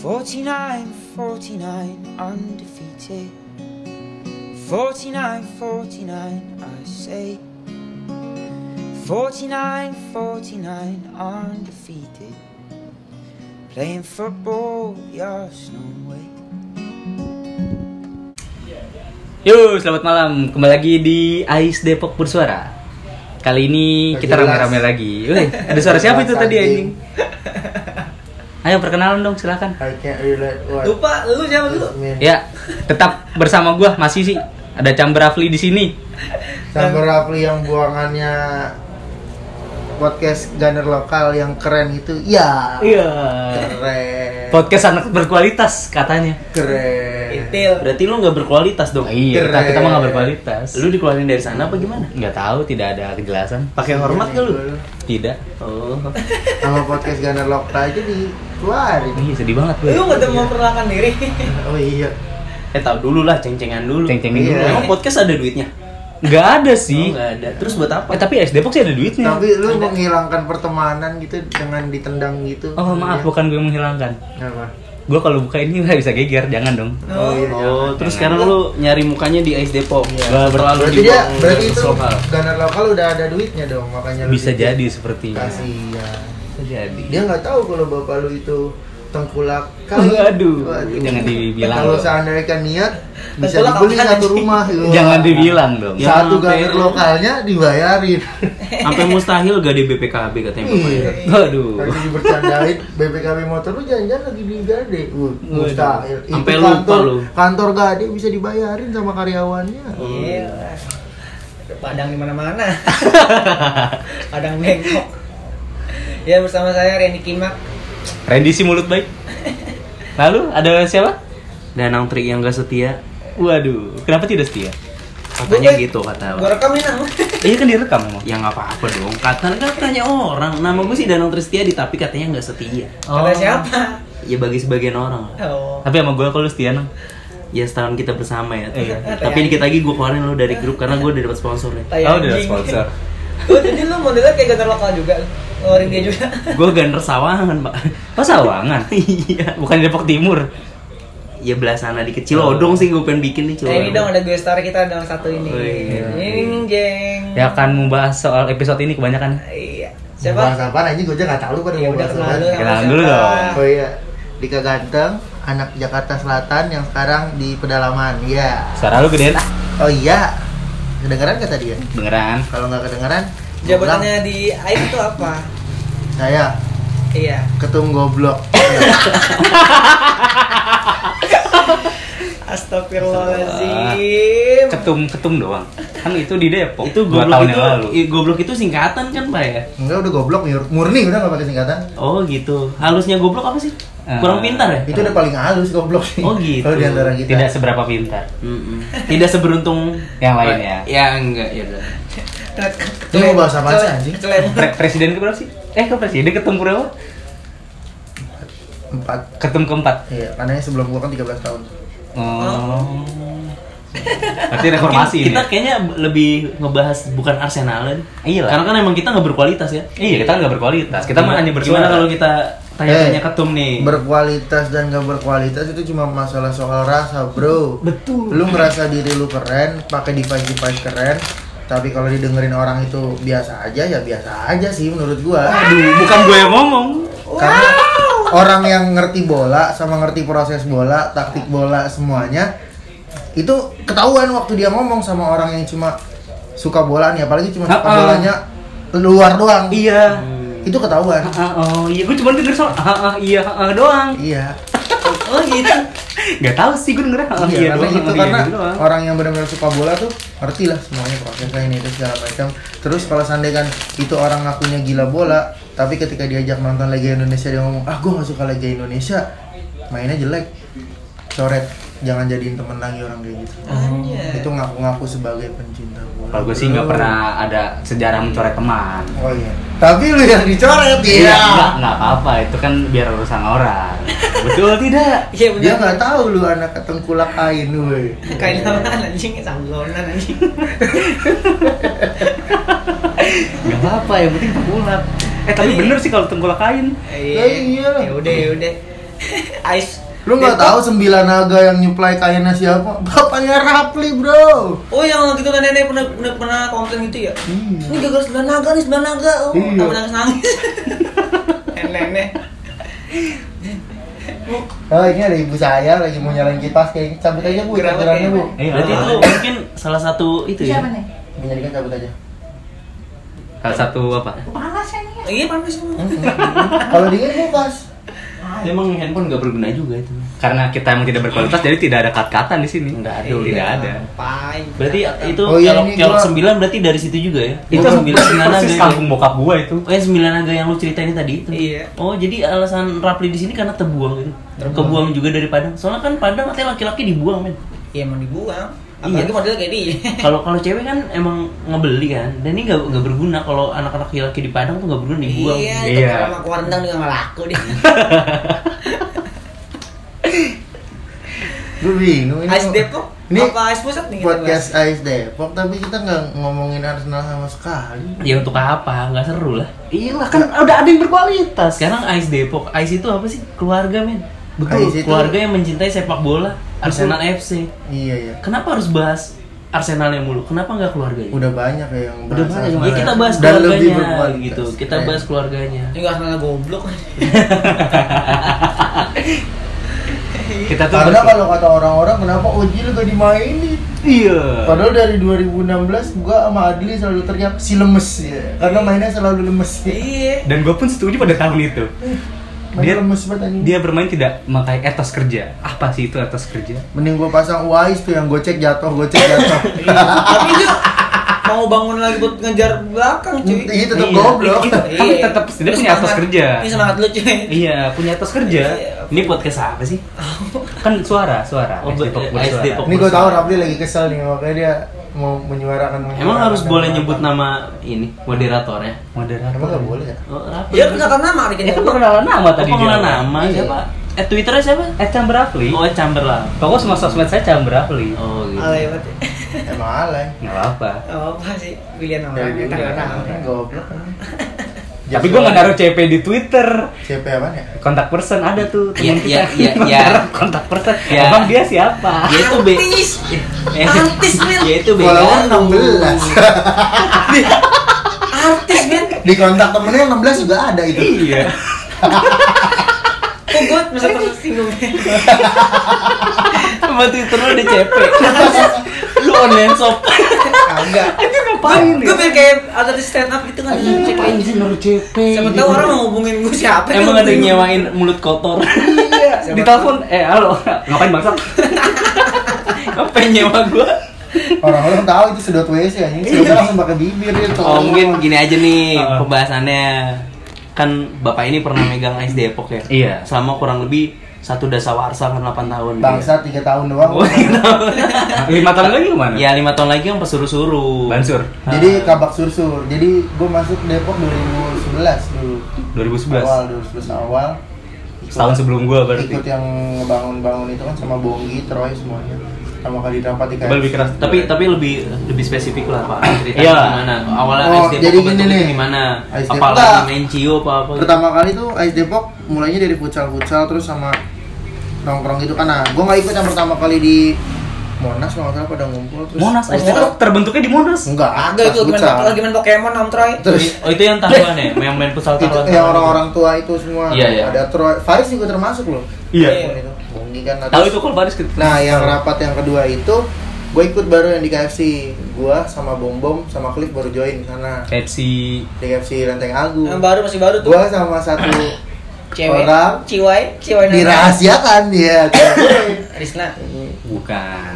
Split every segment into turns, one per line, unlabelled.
49 49 undefeated 49 49 I say 49 49 undefeated Playing football the Arsenal way
Yo, selamat malam. Kembali lagi di Ais Depok Bersuara. Kali ini
Bagi
kita
gelas.
rame-rame lagi. Wih, ada suara siapa itu
Gelas
tadi
anjing.
anjing? Ayo perkenalan dong, silakan.
I can't relate what
Lupa lu siapa dulu?
this means.
Ya, tetap bersama gua masih sih. Ada Chamber Rafli di sini.
Sama Rafli yang buangannya podcast gunner lokal yang keren itu. Ya.
Iya.
Keren.
Podcast anak berkualitas katanya.
keren.
Itil.
Berarti lu nggak berkualitas dong?
Iya, kita,
Keren.
kita mah nggak berkualitas.
Lu dikeluarin dari sana apa gimana?
nggak tahu, tidak ada kejelasan.
Pakai hormat gak lu?
Tidak.
Oh.
Sama podcast gunner lokal aja dikeluarin.
Iya, sedih banget gue.
Lu nggak mau memperlakukan diri.
Oh iya.
Eh tahu dulu lah, ceng-cengan dulu.
Ceng-cengin dulu.
Iya.
Emang podcast ada duitnya?
Nggak ada
Oh,
sih.
nggak ada. Terus buat apa?
eh, tapi Ais Depok sih ada duitnya.
Iya. Tapi lu menghilangkan pertemanan gitu dengan ditendang gitu.
Oh, maaf,
Iya.
bukan gue menghilangkan.
Apa?
Gue kalau buka ini nggak bisa geger, jangan dong.
Oh, iya.
Oh,
jangan.
terus sekarang lu nyari mukanya di Ice Depok.
Iya.
Gak berlalu
Berarti dia
dibuang
berarti
ke
itu
lokal.
gunner lokal udah ada duitnya dong, makanya Iya, lu
Bisa
bikin.
jadi sepertinya.
Kasihan.
Bisa jadi.
dia nggak tahu kalau bapak lu itu tengkulak Kan
Waduh, jangan dibilang.
kalau seandainya niat bisa
Tengkulak
dibeli
apaan
satu
sih?
rumah Wah.
Jangan dibilang dong.
Ya.
satu
Yang
gamer
sampai-
lokalnya dibayarin
Sampai mustahil gak di BPKB katanya
Iya.
ya.
bapaknya.
Waduh.
nanti dibercandain BPKB motor lu jangan-jangan lagi di gade Wuh, mustahil Itu
Sampai lupa
kantor,
lu.
kantor gade bisa dibayarin sama karyawannya
Iya. Ada Padang di mana-mana. Padang bengkok. Ya bersama saya Randy Kimak.
Randy si mulut baik. Lalu ada siapa?
Danang Tri yang gak setia.
Waduh, kenapa tidak setia?
Katanya
Gua-
gitu kata.
Gue rekam ini nama.
Iya kan direkam emang.
Ya nggak apa-apa dong. Kata katanya orang. Nama gue sih Danang Tri Setiadi tapi katanya nggak setia.
Oh.
Kata siapa?
Ya bagi sebagian orang. lah.
Oh.
Oh. Tapi sama gue kalau setia nang.
Ya setahun kita bersama ya.
Iya.
Tapi dikit lagi gue keluarin lo dari grup karena gue udah dapat sponsornya.
Tai
Oh, udah
anjing.
sponsor.
Oh, jadi lu modelnya kayak gator lokal juga. Ngeluarin dia juga.
Gue gander sawangan pak.
Oh Sawangan.
Iya.
Bukan Depok Timur.
Ya belah sana dikit Cilodong sih gue pengen bikin nih
Nah, ini dong
Cilodong.
ada gue star kita dong satu ini.
Oh, iya.
Ini jeng.
Ya kan membahas soal episode ini kebanyakan.
Iya.
bahas
Siapa?
apa aja gue aja nggak tahu kan pada
Ya
mau
udah
bahas
kenalan
apaan.
dulu. sama
Kenalan dulu
siapa.
dong.
oh iya Dika Ganteng anak Jakarta Selatan yang sekarang di pedalaman ya
Suara lu gedean ah.
Oh iya, kedengeran gak tadi ya?
Beneran.
Kalau nggak kedengeran,
Jabatannya di AIP itu apa?
bilang, saya
Iya.
ketum goblok.
Astagfirullahaladzim.
Ketum ketum doang. Kan itu di Depok.
Itu
dua
goblok
tahun
itu,
yang lalu.
i- goblok itu singkatan kan pak ya?
Enggak udah goblok mur- murni udah nggak pakai singkatan.
Oh gitu. Halusnya goblok apa sih? Kurang
Eh,
pintar ya?
Itu udah paling halus goblok sih.
Oh, gitu.
Kalau di antara kita.
Tidak seberapa pintar.
Mm-mm. Tidak seberuntung
Yang lain ya.
Ya enggak ya. udah.
Lu mau bahas apaan sih, anjing?
Pre- presiden ke berapa sih? Eh ke presiden ketemu berapa?
Empat.
Ketemu keempat.
Iya, karena sebelum gua kan 13 tahun.
Oh. Berarti
Mungkin
reformasi ini. ya?
kita kayaknya lebih ngebahas bukan Arsenal deh.
Iya lah.
Karena kan emang kita nggak berkualitas ya.
Iya, kita kan nggak berkualitas. Kita mah
Gimana-
hanya bersuara.
Gimana kalau kita
Eh.
tanya-tanya ketum nih?
Eh, Berkualitas dan gak berkualitas itu cuma masalah soal rasa, bro.
Betul.
Lu ngerasa diri lu keren, pakai device-device keren, tapi kalau didengerin orang itu biasa aja ya biasa aja sih menurut gua.
Aduh, bukan gue yang ngomong.
Karena orang yang ngerti bola sama ngerti proses bola, taktik bola semuanya itu ketahuan waktu dia ngomong sama orang yang cuma suka bola nih, apalagi cuma suka
Ha-ha.
bolanya luar doang.
Iya.
Itu ketahuan.
Uh-uh.
Ah, ah, oh, iya gue cuma denger soal ah, ah, iya ah, ah, doang.
Iya.
Oh gitu.
Gak tahu sih gue denger ah, ah, iya,
Iya, karena
doang.
gitu
ah, iya,
karena
gitu doang.
orang yang benar-benar suka bola tuh ngerti lah semuanya prosesnya ini itu segala macam. Terus kalau seandainya kan itu orang ngakunya gila bola, tapi ketika diajak nonton Liga Indonesia dia ngomong, "Ah, gua nggak suka Liga Indonesia. Mainnya jelek." Coret, jangan jadiin temen lagi orang kayak gitu.
Anjay.
Itu ngaku-ngaku sebagai pencinta bola.
Kalau gue sih nggak pernah ada sejarah mencoret teman.
Oh iya. Tapi lu yang
Iya,
dicoret ya.
nggak nggak apa-apa. Itu kan biar urusan orang. Betul tidak?
Iya
Dia
benar.
nggak tahu lu anak ketengkulak kain, woi.
Kain lawan kan, anjing, samblonan anjing.
Gak apa-apa, yang penting tengkulak. Eh tapi bener sih kalau tengkulak kain.
Iya.
Ya iyalah.
Ya udah, ya udah. Ais.
Lu nggak
Depok.
tahu sembilan naga yang nyuplai kainnya siapa? Bapaknya Rapli bro.
Oh yang waktu itu kan nenek pernah pernah, pernah komplain gitu ya? Ini gagal sebelah naga nih sebelah naga. Oh,
Iya.
aku nangis nangis. nenek.
Oh ini ada ibu saya lagi mau nyalain kipas kayaknya cabut aja bu,
Gerawat
jalannya bu.
Eh,
kayaknya.
Berarti
ah.
itu mungkin salah satu itu ya.
Siapa nih?
Menyalakan cabut aja.
Salah satu apa?
Panas kan ini?
Iya panas emang.
Kalau dingin kulkas.
Ah, Emang handphone nggak berguna Iya juga itu.
Karena kita emang tidak berkualitas, jadi tidak ada kat-katan di sini.
Nggak ada. iya.
Tidak ada.
Pai.
Berarti itu
Oh iya,
kelok
ini
kelok
gua-
sembilan berarti dari situ juga ya.
Itu
sembilan sembilan naga.
gitu, persis
ya?
kampung bokap gua itu.
Oh yang sembilan naga yang lu ceritain tadi itu.
Iya.
Oh jadi alasan Rapli di sini karena terbuang gitu. Kebuang juga dari Padang. Soalnya kan Padang katanya laki-laki dibuang men.
Iya emang dibuang. Apalagi
Iya.
modelnya kayak dia.
Kalau kalau cewek kan emang ngebeli kan. Dan ini nggak nggak berguna kalau anak-anak laki-laki di Padang tuh nggak berguna dibuang.
Iya,
Iya.
iya. sama keluar rendang juga nggak laku deh.
Gue bingung ini.
Ais Depok.
Ini
apa Ais Pusat nih gitu, kita
podcast Ais Depok tapi kita nggak ngomongin Arsenal sama sekali.
Ya untuk apa? Nggak seru lah.
Iya lah, kan udah ada yang berkualitas.
Sekarang Ais Depok. Ais itu apa sih? Keluarga men.
Betul. Ais itu-
Keluarga yang mencintai sepak bola. Arsenal FC.
Iya ya.
Kenapa harus bahas Arsenalnya mulu? Kenapa nggak keluarganya?
Udah banyak ya yang
Udah
bahas
banyak.
Arsenal.
Ya, kita bahas
Dan lebih Iya.
keluarganya
berkualitas.
gitu. Kita
Keren.
bahas keluarganya.
bahas. Ini nggak salah goblok.
Iya.
Kita tuh
Karena
ber-
kalau kata orang-orang kenapa Ojil gak dimainin?
Iya.
Padahal dari 2016 gua sama Adli selalu teriak si lemes ya. Karena mainnya selalu lemes. Ya.
Iya.
Dan gua pun setuju pada tahun itu.
Main
Dia-
lemes banget anjing.
Dia bermain tidak memakai etos kerja. Apa sih itu etos kerja?
Mending gua pasang Wise tuh yang gocek jatuh, gocek jatuh.
Tapi dia mau bangun lagi buat ngejar belakang cuy.
Itu
Iya.
tetap goblok.
Itu- Tapi tetap dia
Lu
punya atas
semangat.
kerja.
Ini semangat lu cuy.
Iya, punya etos
Iya.
kerja.
Ini podcast apa sih?
Kan suara, suara.
Oh,
SD
be- eh, SD Depok.
Ini gua tahu Rapli lagi kesel nih makanya dia mau menyuarakan.
Emang harus boleh nyebut nama ini ya? moderatornya?
Moderator.
Emang gak boleh ya?
Oh, apa?
Dia kenal nama Rikin.
Iya, kan
Itu
Iya.
perkenalan nama
Apa
tadi dia.
Oh, pengenalan nama
Iya.
siapa? Eh Twitternya siapa?
Eh, Chamber Afli.
Oh Chamberlain.
Pokoknya semua sosmed saya Chamber Afli.
Oh gitu.
Alay banget.
Emang alay.
Nggak apa-apa.
Oh, apa sih pilihan orang?
Dari dia
Pilihan
kan
orang.
goblok. kan.
Tapi gua nggak naruh CP di Twitter.
CP apaan ya?
kontak person ada tuh teman kita
Iya, iya, iya, iya.
kontak person
Ya.
abang dia siapa
Ya itu B.
Artis.
Ya-
Artis, Mil.
Ya itu B.
Follower 16
Artis men.
Di kontak temennya 16 juga ada itu
iya
Kok gue masa tersinggung.
Sama Twitter lu udah CP. lu online shop.
Agak
anjir ngapain
ya?
Gue pengen kayak artis stand up gitu kan. Cek aja.
naruh CP.
Siapa tahu orang mau ngubungin gue siapa?
gitu? Emang
kan?
ada yang nyewain mulut kotor.
iya
Siapa
ditelepon eh halo ngapain bangsa
Apa yang nyewa gua?
Orang-orang tahu itu sedot WC anjing Sedotnya langsung pakai bibir itu
Oh mungkin gini aja nih
Heeh.
pembahasannya kan bapak ini pernah megang Ais Depok ya?
Iya.
Sama kurang lebih satu dasawarsa kan 8 tahun. gitu ya.
Bangsa 3 tahun doang
Oh, iya.
lima tahun lagi kemana
Ya lima tahun lagi yang pesuruh-suruh.
Bansur
Ah.
Ah.
Jadi kabak sursur. Jadi gue masuk Depok 2011 dulu.
2011
Awal 2011 awal.
setahun sebelum gua
Ikut
berarti
yang bangun-bangun itu kan sama Bonggi, Troy semuanya. Sama kali rapat di
Coba lebih keras
Tapi tapi lebih lebih spesifik lah Pak. Ceritanya
Iya.
gimana? Awalnya
Oh,
SD
jadi
Pokok
gini
Batu itu
nih.
gimana?
SD
Apa
Enggak.
lagi main cio apa apa? gitu?
Pertama kali tuh Ais Depok mulainya dari futsal-futsal terus sama nongkrong gitu kan. Nah, gue nggak ikut yang pertama kali di Monas kalau nggak salah pada ngumpul terus.
Monas SD tuh terbentuknya di Monas
Enggak,
Agak itu
pas
gimana
futsal.
lagi main Pokemon Om Troy.
Terus
Oh itu yang taruhan ya, yang main futsal
itu
taruhan.
yang orang-orang tua itu semua
gitu. Iya, iya.
ada Troy, Faris juga termasuk loh.
iya
Itu. Bonggi kan
tahu itu kalau Baris gitu.
Nah, yang rapat yang kedua itu gue ikut baru yang di KFC. Gue sama Bom Bom sama Cliff baru join di sana.
Pepsi
Di KFC Lenteng Agung.
Yang baru masih baru tuh.
Gue sama satu
Cewek.
orang
Ciwai, Ciwai Nana.
dirahasiakan dia.
Risna.
Iya.
bukan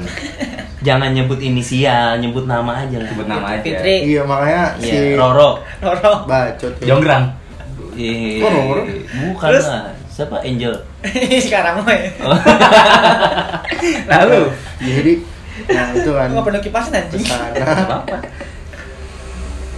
Jangan nyebut inisial, nyebut nama aja lah.
sebut nama aja
Fitri.
iya makanya si
Iya, Roro.
Roro.
bacot. ya.
Jonggrang
Iya.
Kok Roro?
Bukan
Terus?
lah. Siapa Angel?
Sekarang mah ya.
Oh.
lalu
Jadi nah itu kan
Enggak pernah kipasin anjing.
kesana.
apa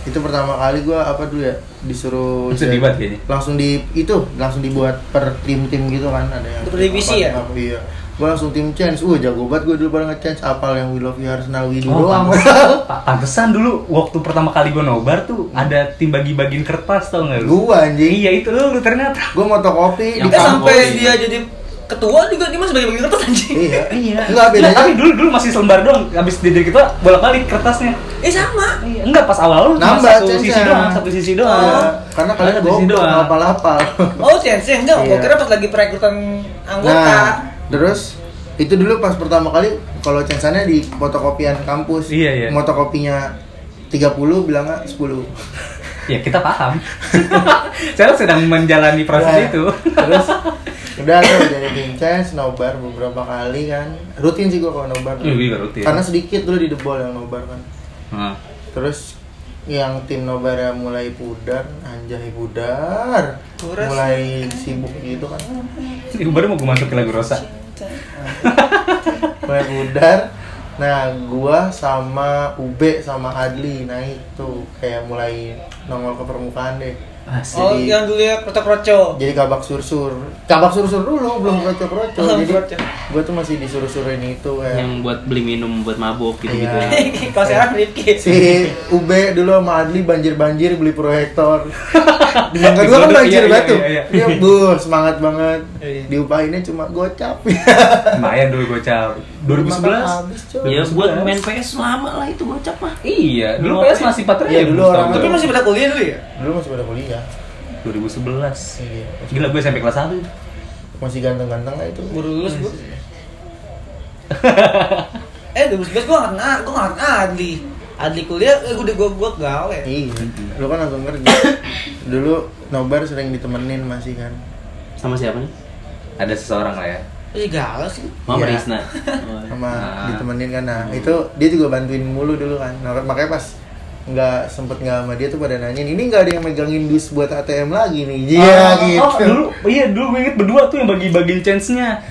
itu pertama kali gue apa dulu ya disuruh
Sedih banget kayaknya.
langsung di itu langsung dibuat per tim tim gitu kan ada yang
Per divisi ya?
apa, iya gue langsung tim chance uh jago banget gue dulu pada nge-chance apal yang we love you Arsenal we do
Oh,
doang
pantesan, Pa- pantesan dulu waktu pertama kali gue nobar tuh ada tim bagi-bagiin kertas tau gak lu?
gue anjing
Iya itu lu, lu ternyata
gue mau kopi
Yang
di
Eh
Kampung.
kampus
sampai dia jadi ketua juga dia masih bagi-bagi kertas anjing.
Iya.
Iya.
Enggak bedanya.
tapi dulu dulu masih selembar doang. Habis didiri kita bolak-balik kertasnya.
Eh sama.
Iya, Enggak pas awal lu cuma
Nambah,
satu sisi
Cenca.
doang, satu sisi doang.
Iya, Karena kalian
satu sisi
goblok
doang.
apal-apal.
Oh, sensi enggak. Gua
Iya.
kira pas lagi perekrutan anggota.
Nah, terus itu dulu pas pertama kali kalau censannya di fotokopian kampus.
Iya, iya.
Fotokopinya 30 bilangnya 10.
Ya kita paham. Saya sedang menjalani proses
Nah,
itu.
Terus udah tuh dari Vincent nobar beberapa kali kan. Rutin sih gua kalau nobar.
Iya, iya, rutin.
Karena sedikit dulu di debol yang nobar kan.
Nah,
Terus yang tim nobarnya mulai pudar, anjay pudar.
Puras.
Mulai sibuk gitu kan.
ini baru mau gue masuk ke lagu Rosa.
Mulai pudar. Nah, gua sama Ube sama Adli naik tuh kayak mulai nongol ke permukaan deh.
Asik.
Oh,
Jadi-
yang dulu ya kroco-kroco.
Jadi kabak sursur. Kabak sursur dulu belum kroco-kroco.
Belum
Jadi
kroco.
gua tuh masih disuruh-suruhin itu kayak
yang buat beli minum buat mabuk gitu gitu
Iya.
ya.
Kalau sekarang Rifki.
si Ube dulu sama Adli banjir-banjir beli proyektor di mangga dua kan
Digodok,
banjir
iya,
banget
iya,
tuh
iya, iya.
dia buh semangat banget
Iya.
diupahinnya cuma gocap Iya,
Lumayan dulu gocap. 2011.
habis cuy
ya buat main PS lama lah itu gocap mah
Iya, dulu PS masih 4
Iya, dulu orang-
Tapi masih pada kuliah dulu ya?
dulu masih pada kuliah
2011.
Iya.
Gila gue SMP kelas 1.
masih ganteng-ganteng lah itu
Baru lulus gua. eh 2011 gua nggak kenal, gua nggak kenal Adli. Adli kuliah, eh udah gua gua gawe.
iya lu kan langsung kerja dulu nobar sering ditemenin masih kan
sama siapa nih
Ada seseorang lah ya.
Masih galau sih.
Mama
Iya.
Rizna
sama
Nah.
ditemenin kan nah itu dia juga bantuin mulu dulu kan nah, makanya pas nggak sempet nggak sama dia tuh pada nanyain ini nggak ada yang megangin dus buat ATM lagi nih iya gitu
Oh, dulu iya dulu gue inget berdua tuh yang bagi-bagiin chance-nya.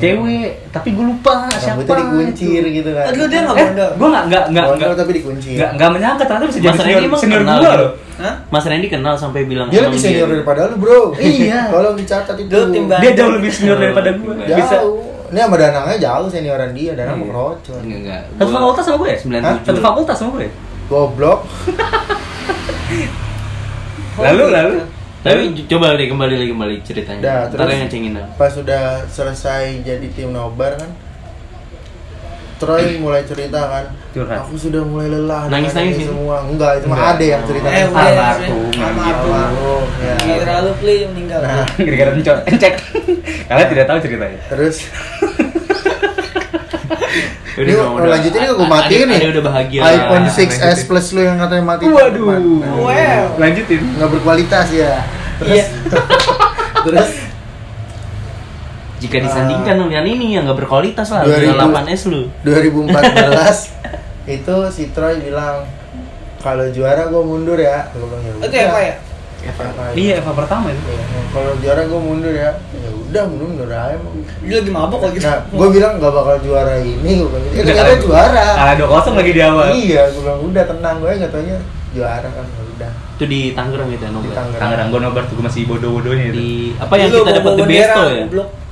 Cewek, tapi gue lupa siapa.
rambutnya dikuncir
itu.
gitu kan
Aduh dia nggak
Eh,
mondok.
gue nggak nggak nggak
Bondol
nggak
tapi dikuncir
nggak nggak menyangka ternyata bisa jadi
Mas Randy
senior
emang
senior
kenal
gue
gitu.
loh.
Hah?
Mas Randy kenal sampai bilang
dia
emang
lebih senior daripada lu bro
Iya.
tolong dicatat itu
Dulu tim Bandung.
Dia jauh lebih senior daripada gue.
Jauh.
Bisa.
jauh ini sama danangnya jauh senioran dia
Iya.
danang mau kerocot
enggak enggak
Satu fakultas sama gue ya?
97.
Satu fakultas sama ya? gue.
goblok
Lalu lalu.
tapi co- coba deh kembali lagi kembali ceritanya
Dah,
ntar
terus-
yang ngecengin dah.
pas sudah selesai jadi tim nobar kan Troy mulai cerita kan
Curhat.
aku sudah mulai lelah dengan
Nangis-nangis
ini
ini?
semua enggak itu mah
Enggak.
ada yang cerita
Eh, udah.
Almarhum,
Almarhum.
Almarhum, ya.
Gila lu pli yang meninggal.
Nah.
Gara-gara encok, encek. Kalian tidak tahu ceritanya.
terus
Udah,
Ini
udah, udah.
lanjutin ini gue
Ada-
matiin
ada-
nih.
ada udah bahagia
iPhone
lah.
6s plus lu yang katanya mati Nah,
Waduh.
Well.
Lanjutin.
nggak berkualitas ya
Iya.
terus Ah.
jika disandingkan dengan ini yang nggak berkualitas lah
2000.
8 S lu
2014 itu si Troy bilang kalau juara gue mundur ya gue bilang ya
Itu apa ya?
Eva
Iya, Eva pertama itu.
kalau juara gue mundur ya ya udah mundur mundur aja mau.
Dia lagi mabok lagi.
nah gue bilang gak bakal juara ini gue bilang gitu. eh,
Nggak
ternyata
tahu.
juara
Kalah 2-0 lagi di awal.
iya gue bilang udah tenang gue nggak taunya juara kan ya udah
itu di Tangerang gitu ya
Di
nobar
Tangerang.
Tangerang gue nobar tuh gue masih bodoh-bodohnya itu.
di apa yang kita dapat the besto ya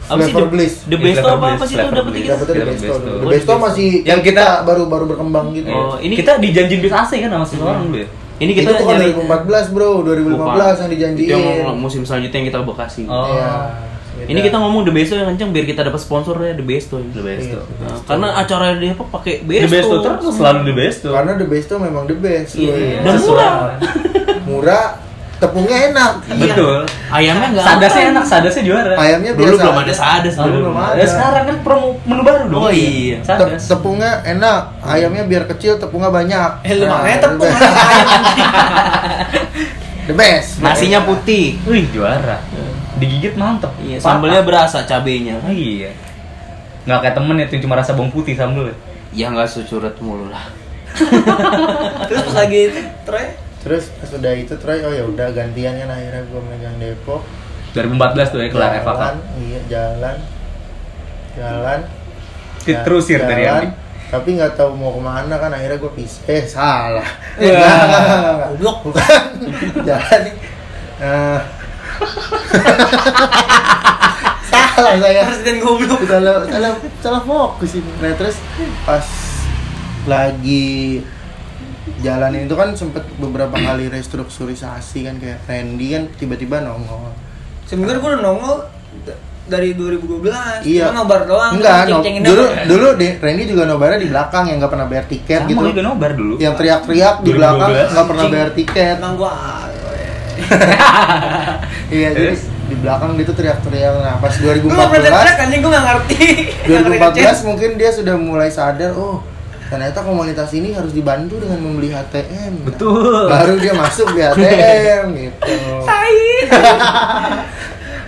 apa sih
Flavor
The-
Bliss.
the besto
Flavor
apa apa
Bliss,
sih itu
Flavor
dapetnya
Bliss.
kita
dapetnya
Dapat
the
Besto.
besto dulu. the besto
Oh, The Besto.
masih
Yang
kita,
kita-
baru baru berkembang gitu
Oh, ini-
kita dijanjin bis AC kan sama seseorang dulu ya.
ini
itu
kita
tuh kan
nyari
2014 bro 2015 yang dijanjiin
itu yang musim selanjutnya yang kita bekasi
Oh.
Iya.
ini kita ngomong the besto yang kenceng biar kita dapat sponsornya the besto
The
ini.
Besto.
Nah, karena acara di apa pakai besto
The Besto terus selalu The Besto.
karena the best tuh memang the best
Iya.
Bro.
Dan
Sesuai.
murah.
murah tepungnya enak
Iya.
Betul.
ayamnya nggak
Sadasnya
apa.
enak, sadasnya juara.
ayamnya
dulu
biasa
belum ada sadas
Dulu
dulu.
belum ada.
Ya, sekarang kan promo menu baru dong.
Oh, iya.
Tep-
Sadas.
tepungnya enak ayamnya biar kecil tepungnya banyak
Eh lu
Nah,
makanya
the
tepung.
best. the best
nasinya putih
Wih, juara. Digigit mantep.
iya,
Patah.
sambelnya berasa cabenya
Ah, iya. Nggak kayak temen itu cuma rasa bawang putih sambelnya.
ya nggak securet mulu lah
Terus pas lagi itu Troy
terus sudah itu Troy oh ya udah gantian kan akhirnya gue megang Depok
2014 tuh ya kelar Eva Cup.
jalan, iya jalan jalan
Ti- Terusir dari Andi.
tapi nggak tahu mau kemana kan akhirnya gue pisah eh salah
Wah.
Nggak, nggak, nggak, nggak, nggak. bukan jalan nih Eh, salah saya
presiden goblok.
salah salah salah fokus ini nah terus pas lagi jalan itu kan sempet beberapa kali restrukturisasi kan kayak Randy kan tiba-tiba nongol
Sebenarnya gua udah nongol dari 2012
Iya.
cuma nobar doang
Enggak,
terus
no-
ceng-cengin
dulu
doang.
dulu De- Randy juga nobarnya di belakang yang nggak pernah bayar tiket
Sama
gitu.
juga nobar dulu.
Yang teriak-teriak di
2012.
belakang nggak pernah bayar tiket.
emang gua
Iya, jadi
Terus?
di belakang dia tuh teriak-teriak. Nah, pas
gua nggak pernah
2014
teriak anjing gua nggak ngerti Nggak pernah ngechat.
2014 mungkin dia sudah mulai sadar, oh ternyata komunitas ini harus dibantu dengan membeli HTM. Nah,
Betul.
baru dia masuk di HTM gitu.
Sain.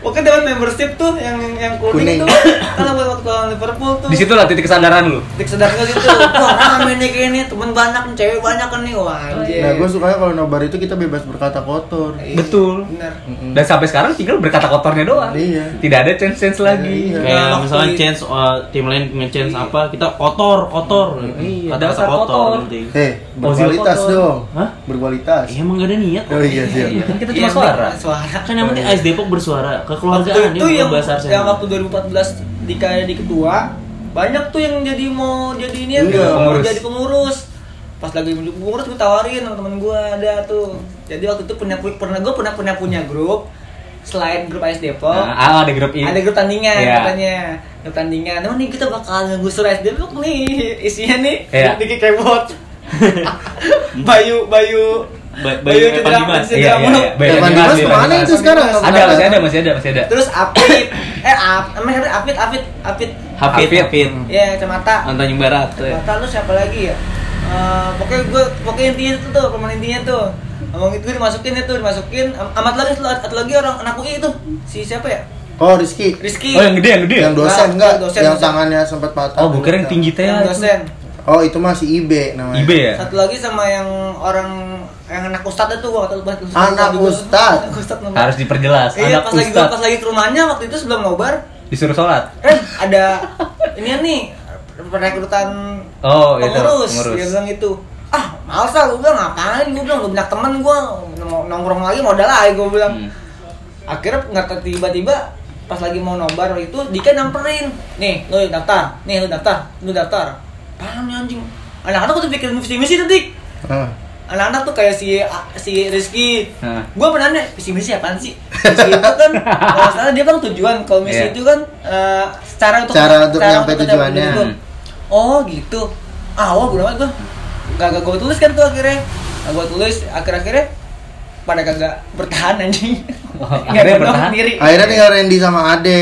Oke dapat membership tuh yang yang
Kuning.
kuning, tuh kalau buat waktu lawan Liverpool tuh.
Di situ lah titik kesadaran lu.
Hmm.
Dik sedarnya gitu. Wah, rame nih kayak ini, temen banyak nih, cewek banyak kan nih.
Oh,
Wah,
iya.
anjir.
Nah, gue sukanya kalau nobar itu kita bebas berkata kotor.
Iya,
Betul.
Bener.
Mm-mm.
Dan sampai sekarang tinggal berkata kotornya doang.
Iya.
Tidak ada chance-chance lagi.
Iya.
Kayak
Nah,
misalnya
waktu-
chance uh, tim lain nge-chance apa, kita kotor, kotor.
Iya,
Kata-kata
dasar kotor.
penting.
Hei,
Oh,
Eh, berkualitas
zero kotor.
dong.
Hah?
Berkualitas.
Ya, Iya, emang gak ada niat.
Oh iya,
Iya,
siap.
kan kita
Iya,
cuma suara.
Suara.
Kan yang penting AS Depok bersuara,
Waktu
kekeluargaan
itu yang,
bahasa Arsenal.
yang waktu 2014 di kayak di ketua, banyak tuh yang jadi mau jadi ini ya,
Iya,
mau
pengurus.
jadi pengurus. Pas lagi menjadi pengurus gue tawarin sama temen gue ada tuh. Jadi waktu itu pernah pu- pernah gue pernah pernah punya grup selain grup AS Depok.
Nah, ah, ada grup ini.
ada grup tandingan
Iya.
katanya grup tandingan emang nih kita bakal ngegusur SD Depok nih isinya nih
Iya.
dikit kebot Bayu Bayu
Ba- Bayu Evan Dimas.
Cedra-
Iya, iya, iya.
Cedra-
Bayu
Evan
Dimas,
Dimas
Evan
kemana
Dimas.
itu sekarang?
Ada, masih ada, masih ada, masih ada.
terus Apit eh Ap namanya siapa? Apit Apit Apit
Hafid,
Hafid.
Hafid.
ya kacamata
Antanyung Barat. tuh ya.
kacamata lu siapa lagi ya Eh, pokoknya gue pokoknya intinya itu tuh pemain intinya tuh ngomong itu dimasukin itu dimasukin Am- amat lagi satu satu lagi orang anak UI itu si siapa ya
Oh, Rizky.
Rizky
Oh, yang gede, yang gede. ya?
Yang dosen
Nah,
enggak?
dosen,
yang
dosen.
tangannya sempat patah.
Oh, bukan yang tinggi teh.
yang Iya, dosen
Oh, itu masih IB namanya.
IB ya?
Satu lagi sama yang orang yang anak ustadz itu gua kata lupa.
Anak
Juga.
ustadz?
Anak ustadz namanya.
Harus diperjelas.
Iya,
Anak
pas lagi gua pas
ustad
lagi ke rumahnya waktu itu sebelum nobar,
disuruh sholat.
eh ada ini nih perekrutan
Oh, itu,
pengurus.
pengurus.
Dia bilang itu. Ah, males lah gua bilang ngapain gua bilang gua banyak teman gua nong- nongkrong lagi modal aja gua bilang.
Hmm.
Akhirnya nggak tahu tiba-tiba pas lagi mau nobar itu Dika nyamperin. Nih, lu daftar. Nih, lu daftar. Lu daftar. Paham nih anjing. Anak-anak tuh pikirin misi-misi tadi
Ah.
anak-anak tuh kayak si si Rizky
Hah.
gue pernah nanya visi misi apaan sih visi itu kan kalau salah dia bilang tujuan kalau misi
Iya.
itu kan eh, cara untuk
Cara untuk nyampe
mencapai
tujuannya.
tujuan. oh gitu ah wah bodo amat gue gak gue tulis kan tuh akhirnya gak gue tulis akhir-akhirnya pada kagak bertahan anjing
Wah,
Nggak
akhirnya
bertahan Iya.
bertahan.
sendiri
Akhirnya tinggal Randy sama Ade.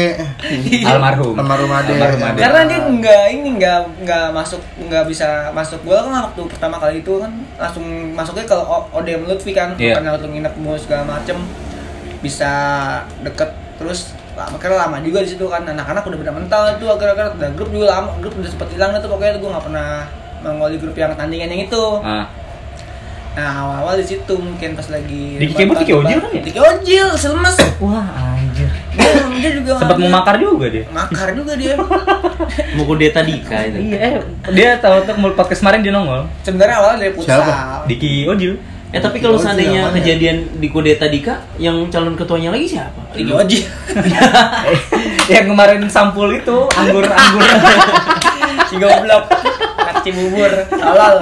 Almarhum.
Almarhum Ade.
Ade.
karena dia nggak ini nggak nggak masuk nggak bisa masuk gua kan waktu pertama kali itu kan langsung masuknya ke O- Odem Lutfi kan
Iya.
karena waktu nginep mau segala macem bisa deket terus lama karena lama juga di situ kan anak-anak udah beda mental itu akhir-akhir dan grup juga lama grup udah sempet hilang itu pokoknya gua nggak pernah mengawali grup yang tandingan yang itu
Ah,
nah awal-awal di situ mungkin pas lagi
Diki Kebut, Diki Ojil kan ya?
Diki Ojil selemes
Wah, anjir.
dia, dia juga
Sempat
ngambil-
memakar juga dia.
makar juga dia
Mukul Deta Dika itu.
Iya, eh, dia tahu tuh mulut podcast kemarin dia nongol.
sebenarnya awalnya dari futsal
Siapa?
Diki Ojil.
Eh tapi kalau
Ojil
seandainya
namanya.
kejadian di kudeta Dika, yang calon ketuanya lagi siapa?
Diki Ojil Iya.
yang kemarin sampul itu anggur-anggur.
si goblok anak cibubur halal